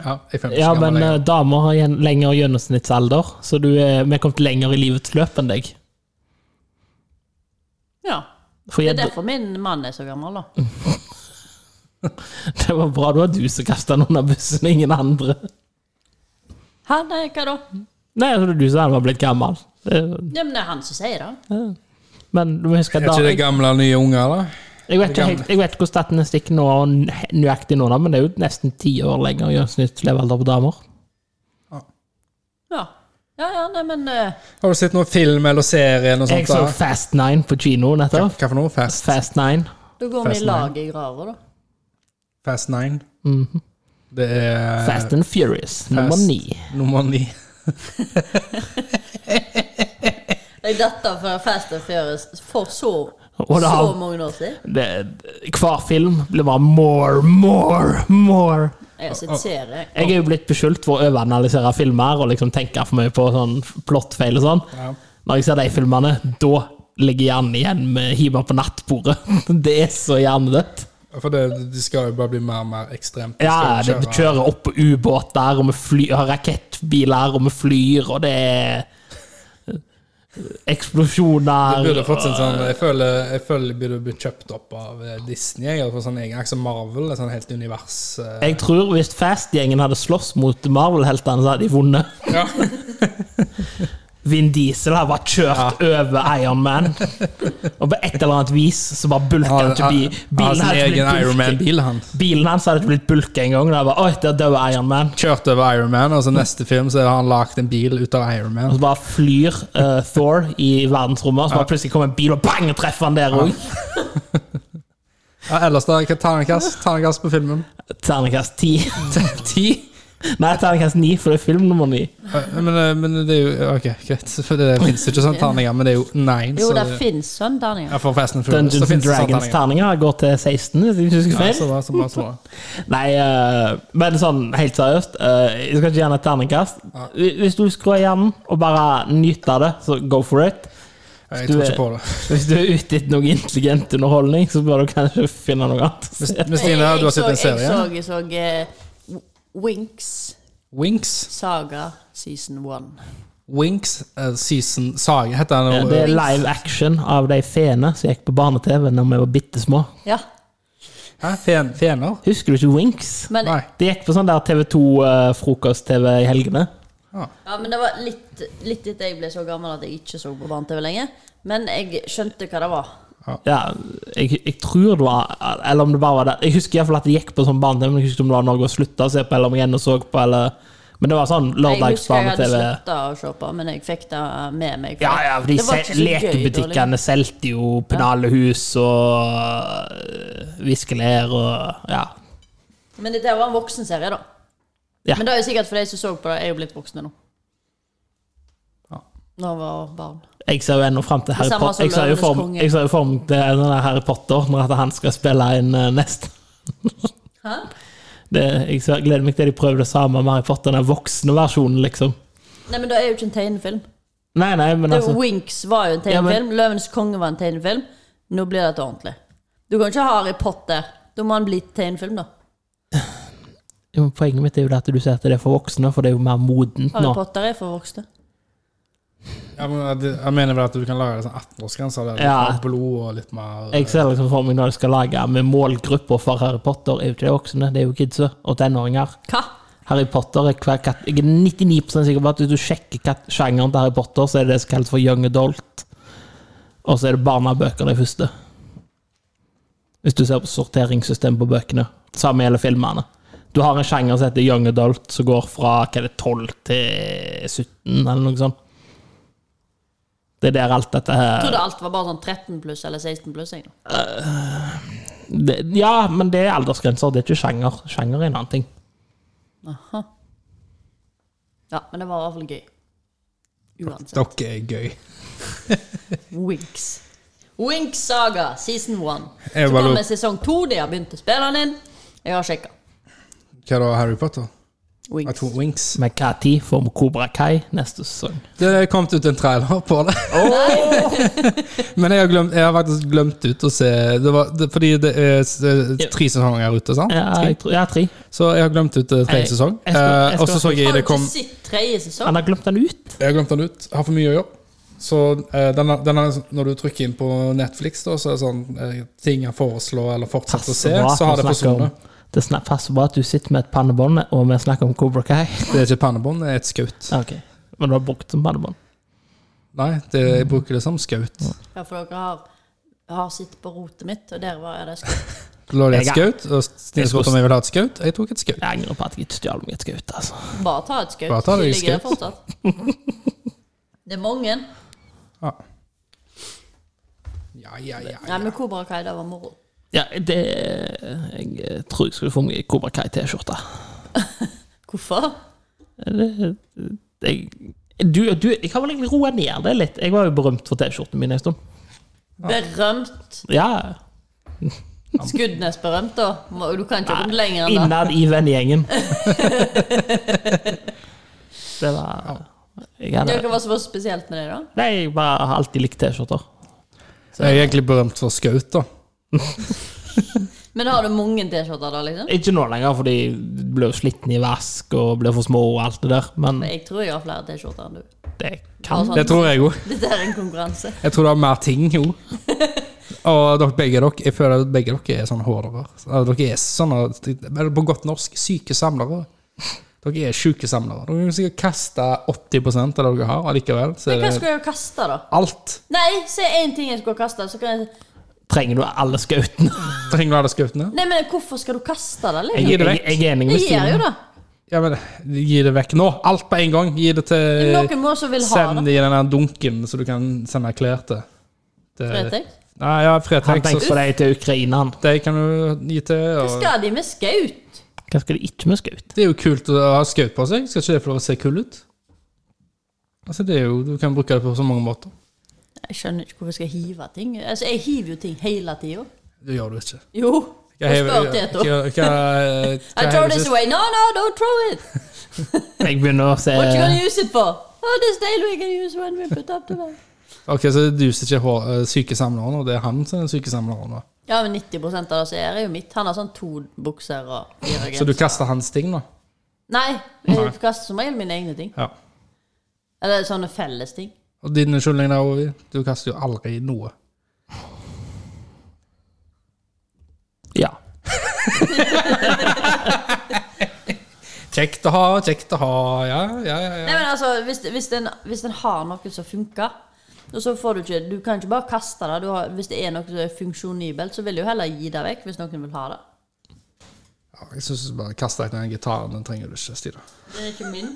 S1: Ja, jeg føler meg
S3: Ja,
S1: ikke gammel
S3: men
S1: lenger.
S3: eh, damer har gjen- lengre gjennomsnittsalder, så du er, vi er kommet lenger i livets løp enn deg.
S2: Ja.
S3: For
S2: Det
S3: jeg,
S2: er derfor min mann er så gammel, da.
S3: det var bra det var du som kasta han under bussen, ingen andre.
S2: Hæ, nei, hva da?
S3: Nei, altså, det er du som han var blitt gammel. Det-
S2: Ja, men det er han som sier det.
S3: Men du må huske at
S1: Er ikke det
S3: eh, da,
S1: gamle nye unger, da?
S3: Jeg vet, ikke helt, jeg vet ikke hvordan statistikken nå nøyaktig nå, da, men det er jo nesten ti år lenger gjennomsnittslevealder på damer.
S2: Ja, ja, ja nei, men eh,
S1: Har du sett noen film eller serie eller noe
S3: Jeg
S1: sånt?
S3: så
S1: da?
S3: Fast Nine på kino
S1: Hva
S3: nettopp.
S1: hva for noe? Fast,
S3: Fast Nine.
S2: da går vi i
S1: Fastlane.
S2: lag i grava, da.
S1: fast Nine? Det er
S3: Mhm. Fast and Furious, nummer
S1: Fast.
S3: ni.
S1: nummer ni.
S2: Jeg datt av fra Fast and Furious for så,
S3: Og da-
S2: så mange år siden.
S3: Det, hver film blir bare more, more, more.
S2: Jeg har sett serie.
S3: Jeg er jo blitt beskyldt for å overanalysere filmer og liksom tenke for mye på sånn plottfeil og sånn.
S1: Ja.
S3: Når jeg ser de filmene, da ligger hjernen igjen med hiver på nattbordet. Det er så hjernedødt.
S1: For det, de skal jo bare bli mer og mer ekstremt. De
S3: Ja,
S1: skal
S3: det
S1: jo
S3: vi kjører opp på ubåter, og vi fly- har rakettbiler, og vi flyr, og det er
S1: Det
S3: eksplosjoner
S1: burde fått sin sånn Jeg føler, jeg føler det burde blitt kjøpt opp av eh, Disney. Jeg hadde fått sånn egen akse Marvel, et sånn helt univers. eh,
S3: Jeg tror hvis Fast-gjengen hadde slåss mot Marvel-heltene, så hadde de vunnet.
S1: Ja.
S3: Vin Diesel har bare kjørt over Iron Man. Og på et eller annet vis så bare bulka han til bi
S1: Han har
S3: bilen.
S1: sin
S3: hadde
S1: egen
S3: blitt
S1: Iron
S3: bulket.
S1: Man-bil, han.
S3: Bilen hans hadde ikke blitt bulka engang. Oi, der døde Iron Man.
S1: Kjørt over Iron Man, og så neste film så har han lagd en bil ut av Iron
S3: Og
S1: Man.
S3: så bare flyr eh, Thor i verdensrommet, og så bare plutselig kommer en bil og bang, og treffer han der òg.
S1: Ja, ellers da, hva- terningkast terningkast på filmen.
S3: Terningkast ti.
S1: Ti?
S3: Nei, terningkast ni, for det er film nummer ni.
S1: Eh, Men, eh, men det er jo Ok, greit. For det fins jo ikke sånne terninger, men det er jo nine.
S2: Jo,
S1: så
S2: det sånn,
S1: det-
S2: fins sånne terninger.
S1: ja, for Fast and Furious,
S3: Dungeons
S1: så
S3: and
S1: finnes det sånne terninger.
S3: Dragons-terninger går til 16, hvis jeg ikke husker
S1: Ja,
S3: feil.
S1: så bra, så bra, så bra.
S3: Nei, eh, men sånn helt seriøst eh, Jeg skal ikke gjerne et terningkast. Hvis- Hvis du skrur hjernen og bare nyter det, så go for it.
S1: Jeg
S3: Du
S1: tror
S3: er-
S1: ikke på det.
S3: Hvis du er ute etter noe intelligent underholdning, så bør du kanskje finne noe annet. å se.
S1: Men Stine, du har sett en serie?
S2: Jeg så, jeg så eh, Winx
S1: Winks.
S2: Saga Season 1.
S1: Winks eh, Season Saga heter den.
S3: Ja,
S1: og-
S3: Eh, Det er live action av de feene som gikk på barne-TV da vi var bitte små.
S2: Ja,
S1: Hæ? Fen, fener?
S3: Husker du ikke Winx?
S2: men,
S1: Nei.
S3: Det gikk på sånn der TV2-frokost-TV i helgene.
S1: Ja.
S2: ja, men det var litt, litt etter jeg ble så gammel at jeg ikke så på barne-TV lenger. Men jeg skjønte hva det var.
S3: Ja, jeg, jeg tror det var Eller om det bare var det. Jeg husker i hvert fall at det gikk på sånn barne-TV, men jeg husker ikke om det var noe å slutte å se på, eller om jeg ennå så på, eller Men det var sånn
S2: Jeg husker jeg hadde
S3: lørdagsbarne-TV.
S2: slutta å se på, men jeg fikk det med meg. for
S3: Ja, ja, for de
S2: det var
S3: se-
S2: ikke så gøy da, liksom.
S3: lekebutikkene solgte jo pennalehus og øh, viskelær og Ja.
S2: liksom. Men dette var en voksenserie, da.
S3: Ja.
S2: Men det er jo sikkert for de som så på det, er jo blitt voksne nå. Når jeg var barn.
S3: Jeg ser jo ennå fram til Harry
S2: samme
S3: Potter.
S2: som
S3: Jeg ser jo
S2: Løvenes
S3: for-
S2: konge.
S3: jeg ser jo for meg til den der Harry Potter når at han skal spille inn øh, neste.
S2: Hæ?
S3: Det, jeg ser, gleder meg til de prøver det samme med Harry Potter, den voksne versjonen, liksom.
S2: Nei, men det er jo ikke en tegnefilm.
S3: Nei, nei, men
S2: Det
S3: altså
S2: Winx var jo en tegnefilm. Løvens konge var en tegnefilm. Nå blir dette ordentlig. Du kan ikke ha Harry Potter. Da må han bli tegnefilm, da.
S3: Jo, men Poenget mitt er jo det at du sier at det er for voksne, for det er jo mer modent
S2: Harry
S3: nå.
S2: Potter er for voksne.
S1: Ja, men jeg- jeg mener vel at du kan lage det sånn 18-årsgrense. Litt
S3: Ja.
S1: mer blod og litt mer
S3: Jeg ser liksom for meg når de skal lage med målgrupper for Harry Potter, er jo ikke det voksne, det er jo kidsa og tenåringer.
S2: Hva?
S3: Harry Potter er hver kat Jeg er 99 sikker på at hvis du sjekker kat sjangeren til Harry Potter, så er det det som kalles for young adult. Og så er det barnebøker, de første. Hvis du ser på sorteringssystemet på bøkene. Samme gjelder filmene. Du har en sjanger som heter young adult, som går fra hva er det, 12 til 17, eller noe sånt. Det er der alt dette
S2: Jeg
S3: her
S1: Eh.
S2: trodde alt var bare sånn 13 pluss eller 16 pluss. Jeg, nå.
S3: det, Ja, men det er aldersgrenser, det er ikke sjanger. Sjanger er en annen ting.
S2: Aha. Ja, men det var i hvert fall gøy. Uansett.
S1: Dere er gøy.
S2: Winx. Winx Saga season one.
S1: Jeg
S2: Så
S1: bare
S2: kommer
S1: lurer-
S2: sesong to. De har begynt å spille den inn. Jeg har sjekka.
S1: Hva da, Harry Potter? Jeg
S2: Winx.
S1: tror Winks.
S3: Men hva tid får vi Kobra Kai neste sesong?
S1: Det er kommet ut en trailer på det. men jeg har, glemt, jeg har faktisk glemt ut å se det var, det, Fordi det er s- eh, tre sesonger ute, sant?
S3: Ja, jeg tror, ja tre.
S1: Så jeg har glemt ut eh, tredje
S3: Jeg-
S1: sesong.
S3: jeg skal- jeg
S1: Eh, Og så
S3: skal-
S1: så jeg
S2: Har du
S1: det
S2: ikke
S1: kom
S2: sett tredje sesong?
S3: Han har glemt den ut.
S1: Jeg har glemt den ut. Har for mye å gjøre. Så eh, den, er- den er, når du trykker inn på Netflix, da, så er det sånn eh, ting jeg foreslår eller fortsetter å se,
S3: bra at
S1: så har
S3: vi
S1: det
S3: snakker om-
S1: forsvunnet.
S3: Det sna- passer bra at du sitter med et pannebånd, og vi snakker om Cobra Kai.
S1: Det er ikke et pannebånd, det er et skaut.
S3: Ok, Men du har brukt som pannebånd.
S1: Nei, det, jeg bruker det som skaut.
S2: Ja, for dere har har sitt på rotet mitt, og der var det skutt.
S1: Lå det et
S3: Jeg-
S1: skaut, og Stine spurte om jeg ville ha et skaut. Jeg tok et skaut.
S3: Jeg angrer på at jeg ikke stjal meg et skaut. Altså.
S2: Bare ta et skutt.
S1: Bare ta deg
S2: De
S1: et
S2: ligger der
S1: skutt.
S2: fortsatt. Det er mange.
S1: Ja, ja, ja. ja.
S2: Nei, men Kobra Kai, det var moro.
S3: Ja, det Jeg eh, tror jeg skulle få meg Kobra Kai-T-skjorte.
S2: Hvorfor?
S3: Det- Jeg, du, du, jeg kan vel egentlig roe ned det litt. Jeg var jo berømt for T-skjortene mine en stund.
S2: Berømt.
S3: Ja,
S2: Skuddnes-berømt, da. Må- Du kan ikke ha kommet lenger enn det.
S3: Innad i vennegjengen. Det var jeg hadde,
S2: Dere var så spesielt med det, da?
S3: Nei, jeg bare har alltid likt T-skjorter.
S1: Jeg er egentlig berømt for skaut, da.
S2: Men har du mange T-skjorter, da, liksom?
S3: Ikke nå lenger, for de ble jo slitne i vask og ble for små og alt det der. Men
S2: Jeg tror jeg har flere T-skjorter enn du.
S3: det kan
S2: Bare sånn,
S1: Det tror jeg òg.
S2: Dette er en konkurranse.
S1: Jeg tror det er mer ting jo. Og dere begge dere, jeg føler at begge dere er sånne hårdere. Dere er sånne, eller på godt norsk, syke samlere. Dere er syke samlere. Dere kan sikkert kaste 80 av det dere har, og likevel så er
S2: Hva
S1: det
S2: skulle jeg kaste, da?
S1: alt.
S2: Nei, se én ting jeg skulle kaste. Så kan jeg...
S3: trenger du alle skautene.
S1: Trenger du alle skautene?
S2: Nei, men hvorfor skal du kaste det, liksom?
S1: Gi
S3: Jeg,
S1: det
S3: jeg,
S1: vekk.
S3: jeg er enig
S2: Det
S3: med
S2: gjør jo
S3: Stine.
S2: det.
S1: Ja, men gi det vekk nå. Alt på en gang. Gi det til
S2: Noen må også vil ha
S1: Eh, Send
S2: det.
S1: det i den der dunken så du kan sende klær til. til
S2: Fretek.
S1: Nei, ja,
S3: Han
S1: Fretex.
S3: tenker på deg til Ukraina. han.
S1: Det kan du gi til.
S2: Hva
S1: Og
S2: skal de med skaut?
S3: Hva skal de ikke med skaut?
S1: det er jo kult å ha skaut på seg. Skal ikke det få lov å se kul ut? Altså, det er jo, Du kan bruke det på så mange måter.
S2: Jeg skjønner ikke hvorfor jeg skal hive ting. Altså, Jeg hiver jo ting hele tida.
S1: Det gjør du ikke.
S2: Jo. Og spør Teto. I throw this away. No, no, don't throw it.
S3: Jeg begynner å se
S2: What you gonna use it for? Oh, this day we can use when we put up the bag.
S1: Ok, Så du som ikke er hår- eh, sykesamleren, og det er han som er sykesamleren? da.
S2: Ja, men 90 av det som er, er jo mitt. Han har sånn to bukser og fire
S1: Så du
S2: gensere.
S1: kaster hans ting, da?
S2: Nei, jeg kaster som regel mine egne ting.
S1: Ja.
S2: Eller sånne felles ting.
S1: Og dine unnskyldninger der, Ovi? Du kaster jo aldri noe.
S3: Ja.
S1: Kjekt å ha, kjekt å ha, ja, ja, ja. ja.
S2: Nei, men altså, hvis, hvis, den, hvis den har noe som funker, og så får du ikke Du kan ikke bare kaste det. Du har, hvis det er noe som er funksjonibelt, så vil du jo heller gi det vekk hvis noen vil ha det.
S1: Ja, Jeg synes bare kast deg den gitaren, den trenger du ikke, Stina.
S2: Den er ikke min.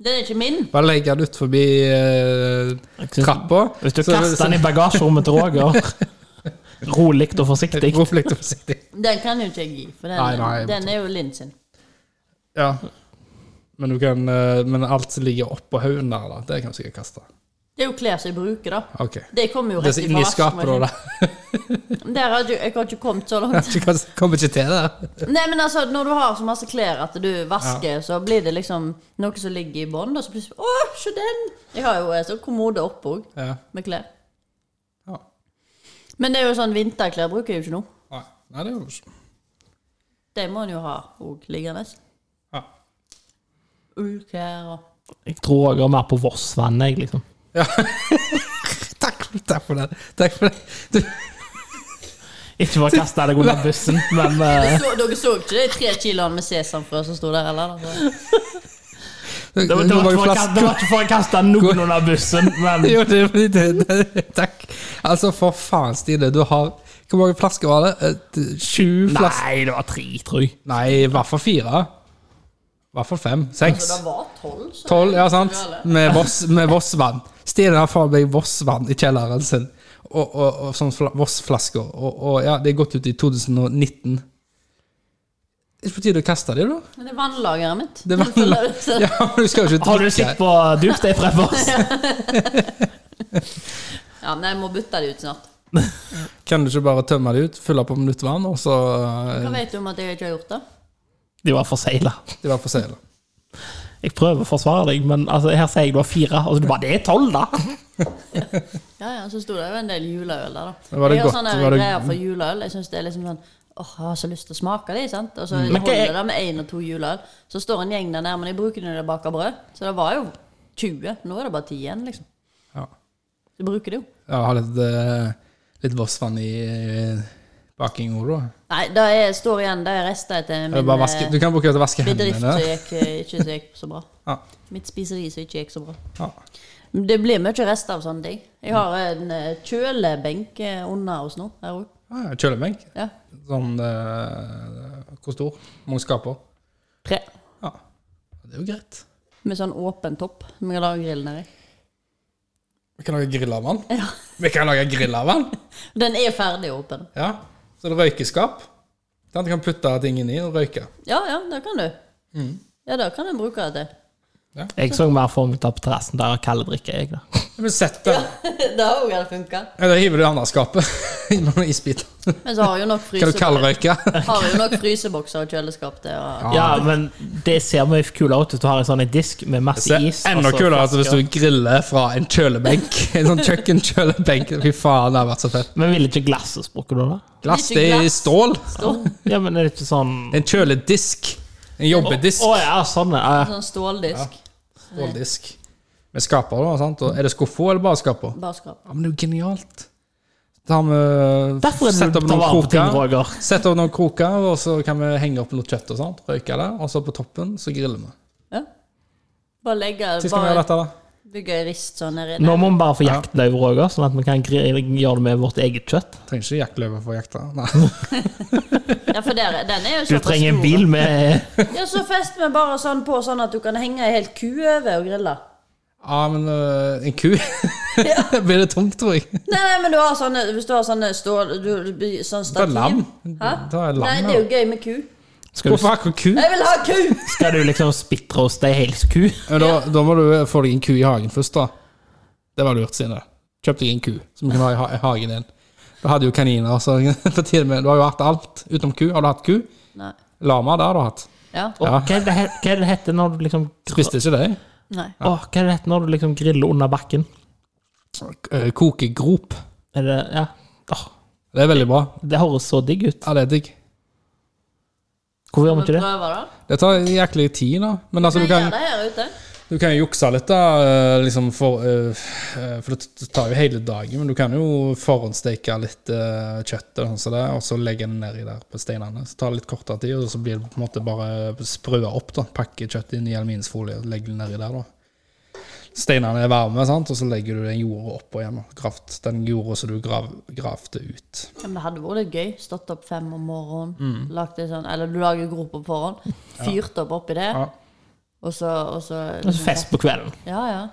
S2: Den er ikke min.
S1: Bare legg den ut forbi eh,
S3: Jeg synes-
S1: trappa.
S3: Hvis du
S1: så-
S3: kaster den i
S1: så-
S3: bagasjerommet til Roger, rolig og forsiktig
S1: Rop litt forsiktig.
S2: Den kan jo ikke jeg gi, for den,
S1: Nei, nei, jeg
S2: den er jo Linn sin.
S1: Ja. Men, du kan, eh, men alt som ligger oppå haugen der, da, det kan du sikkert kaste.
S2: Det er jo klær som jeg bruker, da.
S1: Ok.
S2: Det kommer jo
S1: Det
S2: rett
S1: som er
S2: ifra
S1: inni skapet, da.
S2: vaskemaskinen.
S1: da.
S2: Der har ikke- Jeg har ikke kommet så langt.
S1: Du kan- kommer ikke til det.
S2: Nei, men altså, når du har så masse klær at du vasker, så blir det liksom noe som ligger i bånd, og så plutselig Å, se den! Jeg har jo en sånn kommode oppe òg,
S1: Ja.
S2: med klær.
S1: Ja.
S2: Men det er jo sånn vinterklær bruker jeg jo ikke nå.
S1: Nei, Nei, det er jo ikke
S2: De må en jo ha òg liggende.
S1: ja.
S2: Ullklær og
S3: Jeg tror Roger er mer på Vossvannet, jeg, liksom.
S1: Takk, takk for det. Takk for det. Du,
S3: Ikke for å kaste deg under bussen, men eh,
S2: så, Dere så ikke de tre kiloene med sesamfrø som sto der, eller? Altså.
S1: du,
S3: det, var, det, var ikke for å kaste, det var ikke for å kaste noen under bussen, men
S1: Jo, det, det, det, det, takk. Altså, for faen, Stine. Du har Hvor mange flasker var det? Et- Sju flasker?
S3: Nei, det var tre, tror jeg.
S1: Nei, i hvert fall fire. I hvert fall fem. Seks.
S2: Så det var tolv? så-
S1: Tolv, ja, sant? Med, voss, med Voss-vann. Stine har faen meg Voss-vann i kjelleren sin. Og, og, og sånn fla- Voss-flasker. Og, og ja, det er gått ut i 2019. Det er på tide å kaste dem, da.
S2: Men det er vannlageret mitt.
S1: Det var, ja, men du skal jo ikke
S3: Har du
S1: drikke.
S3: sett på Duke Day Preppers?
S2: Ja, men jeg må bytte det ut snart.
S1: Kan du ikke bare tømme det ut, fylle på med nytt vann, og så
S2: Hva
S1: eh,
S2: vet du om at jeg ikke har gjort det?
S3: De var forsegla.
S1: Det var for sent.
S3: Jeg prøver å forsvare deg, men altså, her sier jeg det var fire, og så du bare Det er tolv, da!
S2: Ja, ja, så sto det jo en del juleøl der, da.
S1: Var det
S2: jeg har
S1: godt?
S2: sånne
S1: Var det-
S2: greier for juleøl. Jeg synes det er liksom sånn Åh, jeg har så lyst til å smake de, sant? Og så
S1: Mm.
S3: Men hva
S2: holder
S3: er-
S2: det med én og to juleøl. Så står en gjeng der nede, men jeg bruker det når jeg baker brød. Så det var jo 20. Nå er det bare 10 igjen, liksom.
S1: Ja.
S2: Så jeg bruker det jo.
S1: Ja, ha litt, eh, litt Voss-vann i eh, bakinga, da.
S2: Nei, det er, står igjen det er rester etter
S1: Eller
S2: min
S1: bare vaske,
S2: eh,
S1: du kan bruke det til å vaske
S2: bedrift som
S1: hendene.
S2: gikk, eh, ikke så gikk så bra.
S1: Ja.
S2: Mitt spiseri som ikke gikk så bra.
S1: Ja.
S2: Det blir mye rester av sånne ting. Jeg har en eh, kjølebenk eh, under oss nå. her også.
S1: Ah, ja, Kjølebenk.
S2: Ja.
S1: Sånn eh, Hvor stor? Mange skaper?
S2: Tre.
S1: Ja. Det er jo greit.
S2: Med sånn åpen topp som jeg kan lage grill nedi.
S1: Vi kan lage grill av den.
S2: Ja.
S1: Vi kan lage grill av den!
S2: Den er ferdig åpen.
S1: Ja. Så er det røykeskap. Den kan putte ting inni og røyke.
S2: Ja, ja, det kan du.
S3: Mm.
S2: Ja, det kan jeg bruke det til.
S3: Jeg så mer for meg å ta på terrassen der og kalde drikke, jeg, da.
S1: Men sett den.
S2: det har òg funka.
S1: Eller hiver du det andre skapet i noen isbiter.
S2: Men så har jeg jo nok,
S1: Kan du
S2: fryse
S1: kaldrøyke?
S2: har jeg jo nok frysebokser og kjøleskap til å
S1: Ah.
S3: Ja, men det ser mye kulere ut hvis du har en sånn en disk med masse is. og
S1: Enda
S3: så
S1: kulere altså, hvis
S3: flasker.
S1: du griller fra en kjølebenk. En sånn kjøkkenkjølebenk. Fy faen, det har vært så fett.
S3: Men ville ikke glasset sprukket da? da?
S1: Glass
S2: Ikke
S1: det er i
S2: glass.
S1: stål.
S2: stå.
S3: Ja, men er det ikke sånn
S1: En kjøledisk. En jobbedisk.
S3: Å ja, sånn, ja.
S2: Sånn ståldisk.
S1: Ståldisk. Med skaper, da. sant? Og er det skuffo eller bare skaper?
S2: Bare skap.
S1: Ja, men det er jo genialt. Da har vi
S3: Derfor er det
S1: Sett
S3: du
S1: opp
S3: tar
S1: noen
S3: vare på ting,
S1: kroker.
S3: Roger.
S1: Sett over noen kroker, og så kan vi henge opp noe kjøtt og sånt. Røyke det. Og så på toppen, så griller vi.
S2: Ja. Bare legge
S1: Sist kan vi gjøre
S2: bare
S1: dette, da?
S2: Bygge ei rist sånn her
S3: Nå
S2: inne.
S3: må vi bare få jaktløyve, Roger, sånn at vi kan gri- gjøre det med vårt eget kjøtt.
S1: Trenger ikke jaktløve for å jakte. Nei.
S2: Ja, for der, den er jo
S3: Du
S2: såpass
S3: trenger en
S2: stor.
S3: bil med
S2: Ja, så fester vi bare sånn på, sånn at du kan henge ei hel ku over og grille.
S1: Ja, men øh, en ku Det Blir det tungt, tror jeg?
S2: Nei, nei, men du har sånne Hvis du har sånne stål du,
S1: Det
S2: Sånn
S1: er
S2: stativ.
S1: lam.
S2: Hæ?
S1: Da er lam
S2: Nei, det er jo gøy med ku.
S3: Skal du,
S1: Hvorfor akkurat ku?
S2: Jeg vil ha ku!
S3: skal du liksom spittroaste ei hel ku?
S1: Men da, da må du få deg en ku i hagen først, da. Det var lurt, Sine. Kjøp deg en ku som du kan ha i ha- i hagen din. Du hadde jo kaniner, så for tiden med, du har jo hatt alt utenom ku. Har du hatt ku?
S2: Nei.
S1: Lama, det har du hatt.
S2: Ja.
S3: Og
S1: Ja.
S3: Hva er det he- hva er det heter når du liksom gr-
S1: Spiste ikke det?
S2: Nei.
S3: Å, Hva er det heter når du liksom griller under bakken?
S1: Eh, Kokegrop.
S3: Er det Ja. Åh,
S1: Det er veldig bra.
S3: det høres så digg ut.
S1: Ja, det er digg.
S3: Hvorfor gjør vi
S2: Skal vi
S3: ikke det?
S2: prøve, da?
S1: Det tar jæklig tid, da. Men altså,
S2: Kan
S1: du
S2: jeg
S1: kan,
S2: gjøre det her ute?
S1: Du kan jo jukse litt, da. eh, Liksom for, eh, eh, for det tar jo hele dagen. Men du kan jo forhåndssteke litt eh, kjøtt og sånn som det, og så legge det nedi der på steinene. Så tar det litt kortere tid, og så blir det på en måte bare sprøa opp. da Pakke kjøttet inn i aluminiumsfolie og legge det nedi der. da Steinene er varme, sant? og så legger du den jorda oppå igjen. da. Gravt, den jorda som du grav, gravde ut.
S2: Ja, men det hadde vært litt gøy. Stått opp fem om morgenen,
S1: Mm.
S2: lagt det sånn Eller du lager grop på forhånd, fyrt opp oppi det,
S1: Ja.
S2: og så, og så
S3: Og så fest på kvelden.
S2: Ja, ja.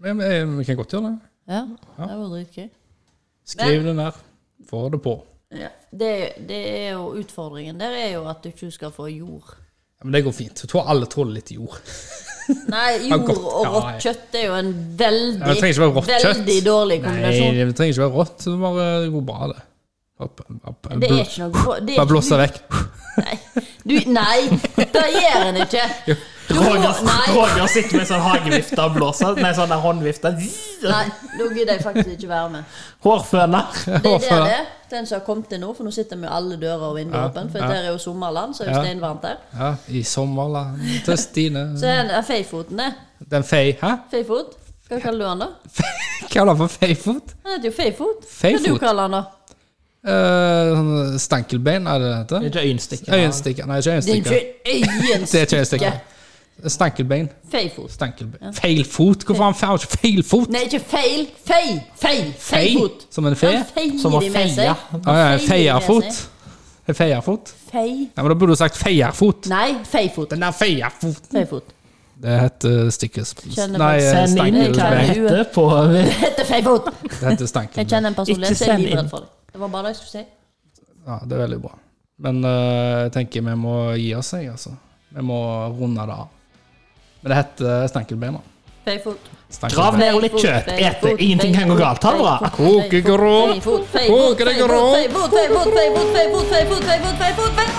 S1: Men, eh, Vi kan godt gjøre det.
S2: ja. Det var dritgøy.
S1: Skriv det ned. Få det på.
S2: Ja. Det, det er jo utfordringen der er jo at du ikke skal få jord.
S1: Ja, Men det går fint. Jeg tror alle tåler litt jord.
S2: Nei,
S1: Ja,
S2: jord
S1: godt.
S2: og
S1: Ja, ja.
S2: rått kjøtt er jo en
S1: Ja, det
S2: veldig,
S1: trenger ikke være rått kjøtt.
S2: veldig dårlig
S1: Nei,
S2: kombinasjon.
S1: det trenger ikke være rått. Det bare det går bra, det. Opp, opp,
S2: Det er ikke noe bra- det er
S1: Bare blåse vekk.
S2: ikke- Nei, du, nei det gjør en ikke. Du
S3: Roger,
S2: får- nei,
S3: Roger sitter med sånn hagevifte og blåser. Nei, sånn der håndvifte.
S2: nei, nå gidder jeg faktisk ikke være med.
S3: Hårføner.
S2: Det er
S1: Hvorfor
S2: der
S1: det?
S2: det er. Den som har kommet til nå, for nå sitter vi alle dører og vinduer
S1: Ja,
S2: åpne, for
S1: ja.
S2: der er jo sommerland, så er jo
S1: Ja.
S2: steinvarmt der.
S1: Ja, I sommerland til Stine
S2: Så er den- er feifoten det.
S1: Den fei... Hæ?
S2: Feifot? Hva kaller du han da?
S1: Hva kaller han for feifot?
S2: Han heter jo feifot. Hva
S1: Feifot?
S2: du kaller han da?
S1: Eh, sånn stankelbein, er det det heter?
S3: Ikke øyenstikker.
S1: Øyenstikker. Nei, ikke
S2: Din
S1: øyenstikker. Det er ikke
S2: øyenstikke.
S1: øyenstikker. Stankelbein.
S2: Feifot.
S1: Stankelbein. Feilfot? Hvorfor har han faen ikke feilfot?
S2: Nei, ikke feil. Fei. Fei. Feifot.
S1: Som en fe?
S2: Han feier
S3: Som å
S2: de med
S3: feie.
S2: seg.
S1: Ah, ja,
S2: feier de med
S1: feierfot?
S2: seg.
S1: En Feierfot?
S2: Fei.
S1: Ja, men da burde du sagt feierfot.
S2: Nei, feifot.
S1: Den der feierfoten.
S2: Feifot.
S1: Det heter stikkes...
S2: Kjenner
S1: Nei, eh,
S2: folk-
S3: Send inn hva det
S1: stankelbein.
S3: heter på
S2: Det heter feifot.
S1: Det heter
S2: Jeg
S1: stankelbein.
S2: kjenner en person
S3: Ikke
S2: som er
S3: send inn.
S2: livredd for det. Det var bare det jeg skulle si.
S1: Ja, det er veldig bra. Men eh, jeg tenker vi må gi oss, jeg, altså. Vi må runde det av. Men det heter stankelbein, da.
S2: Feifot.
S3: Grav
S1: Stankelbein.
S3: ned litt kjøtt, et det. Ingenting kan gå galt. Ha det bra.
S1: Koke grå. Koke det grå.
S2: Koke det grå.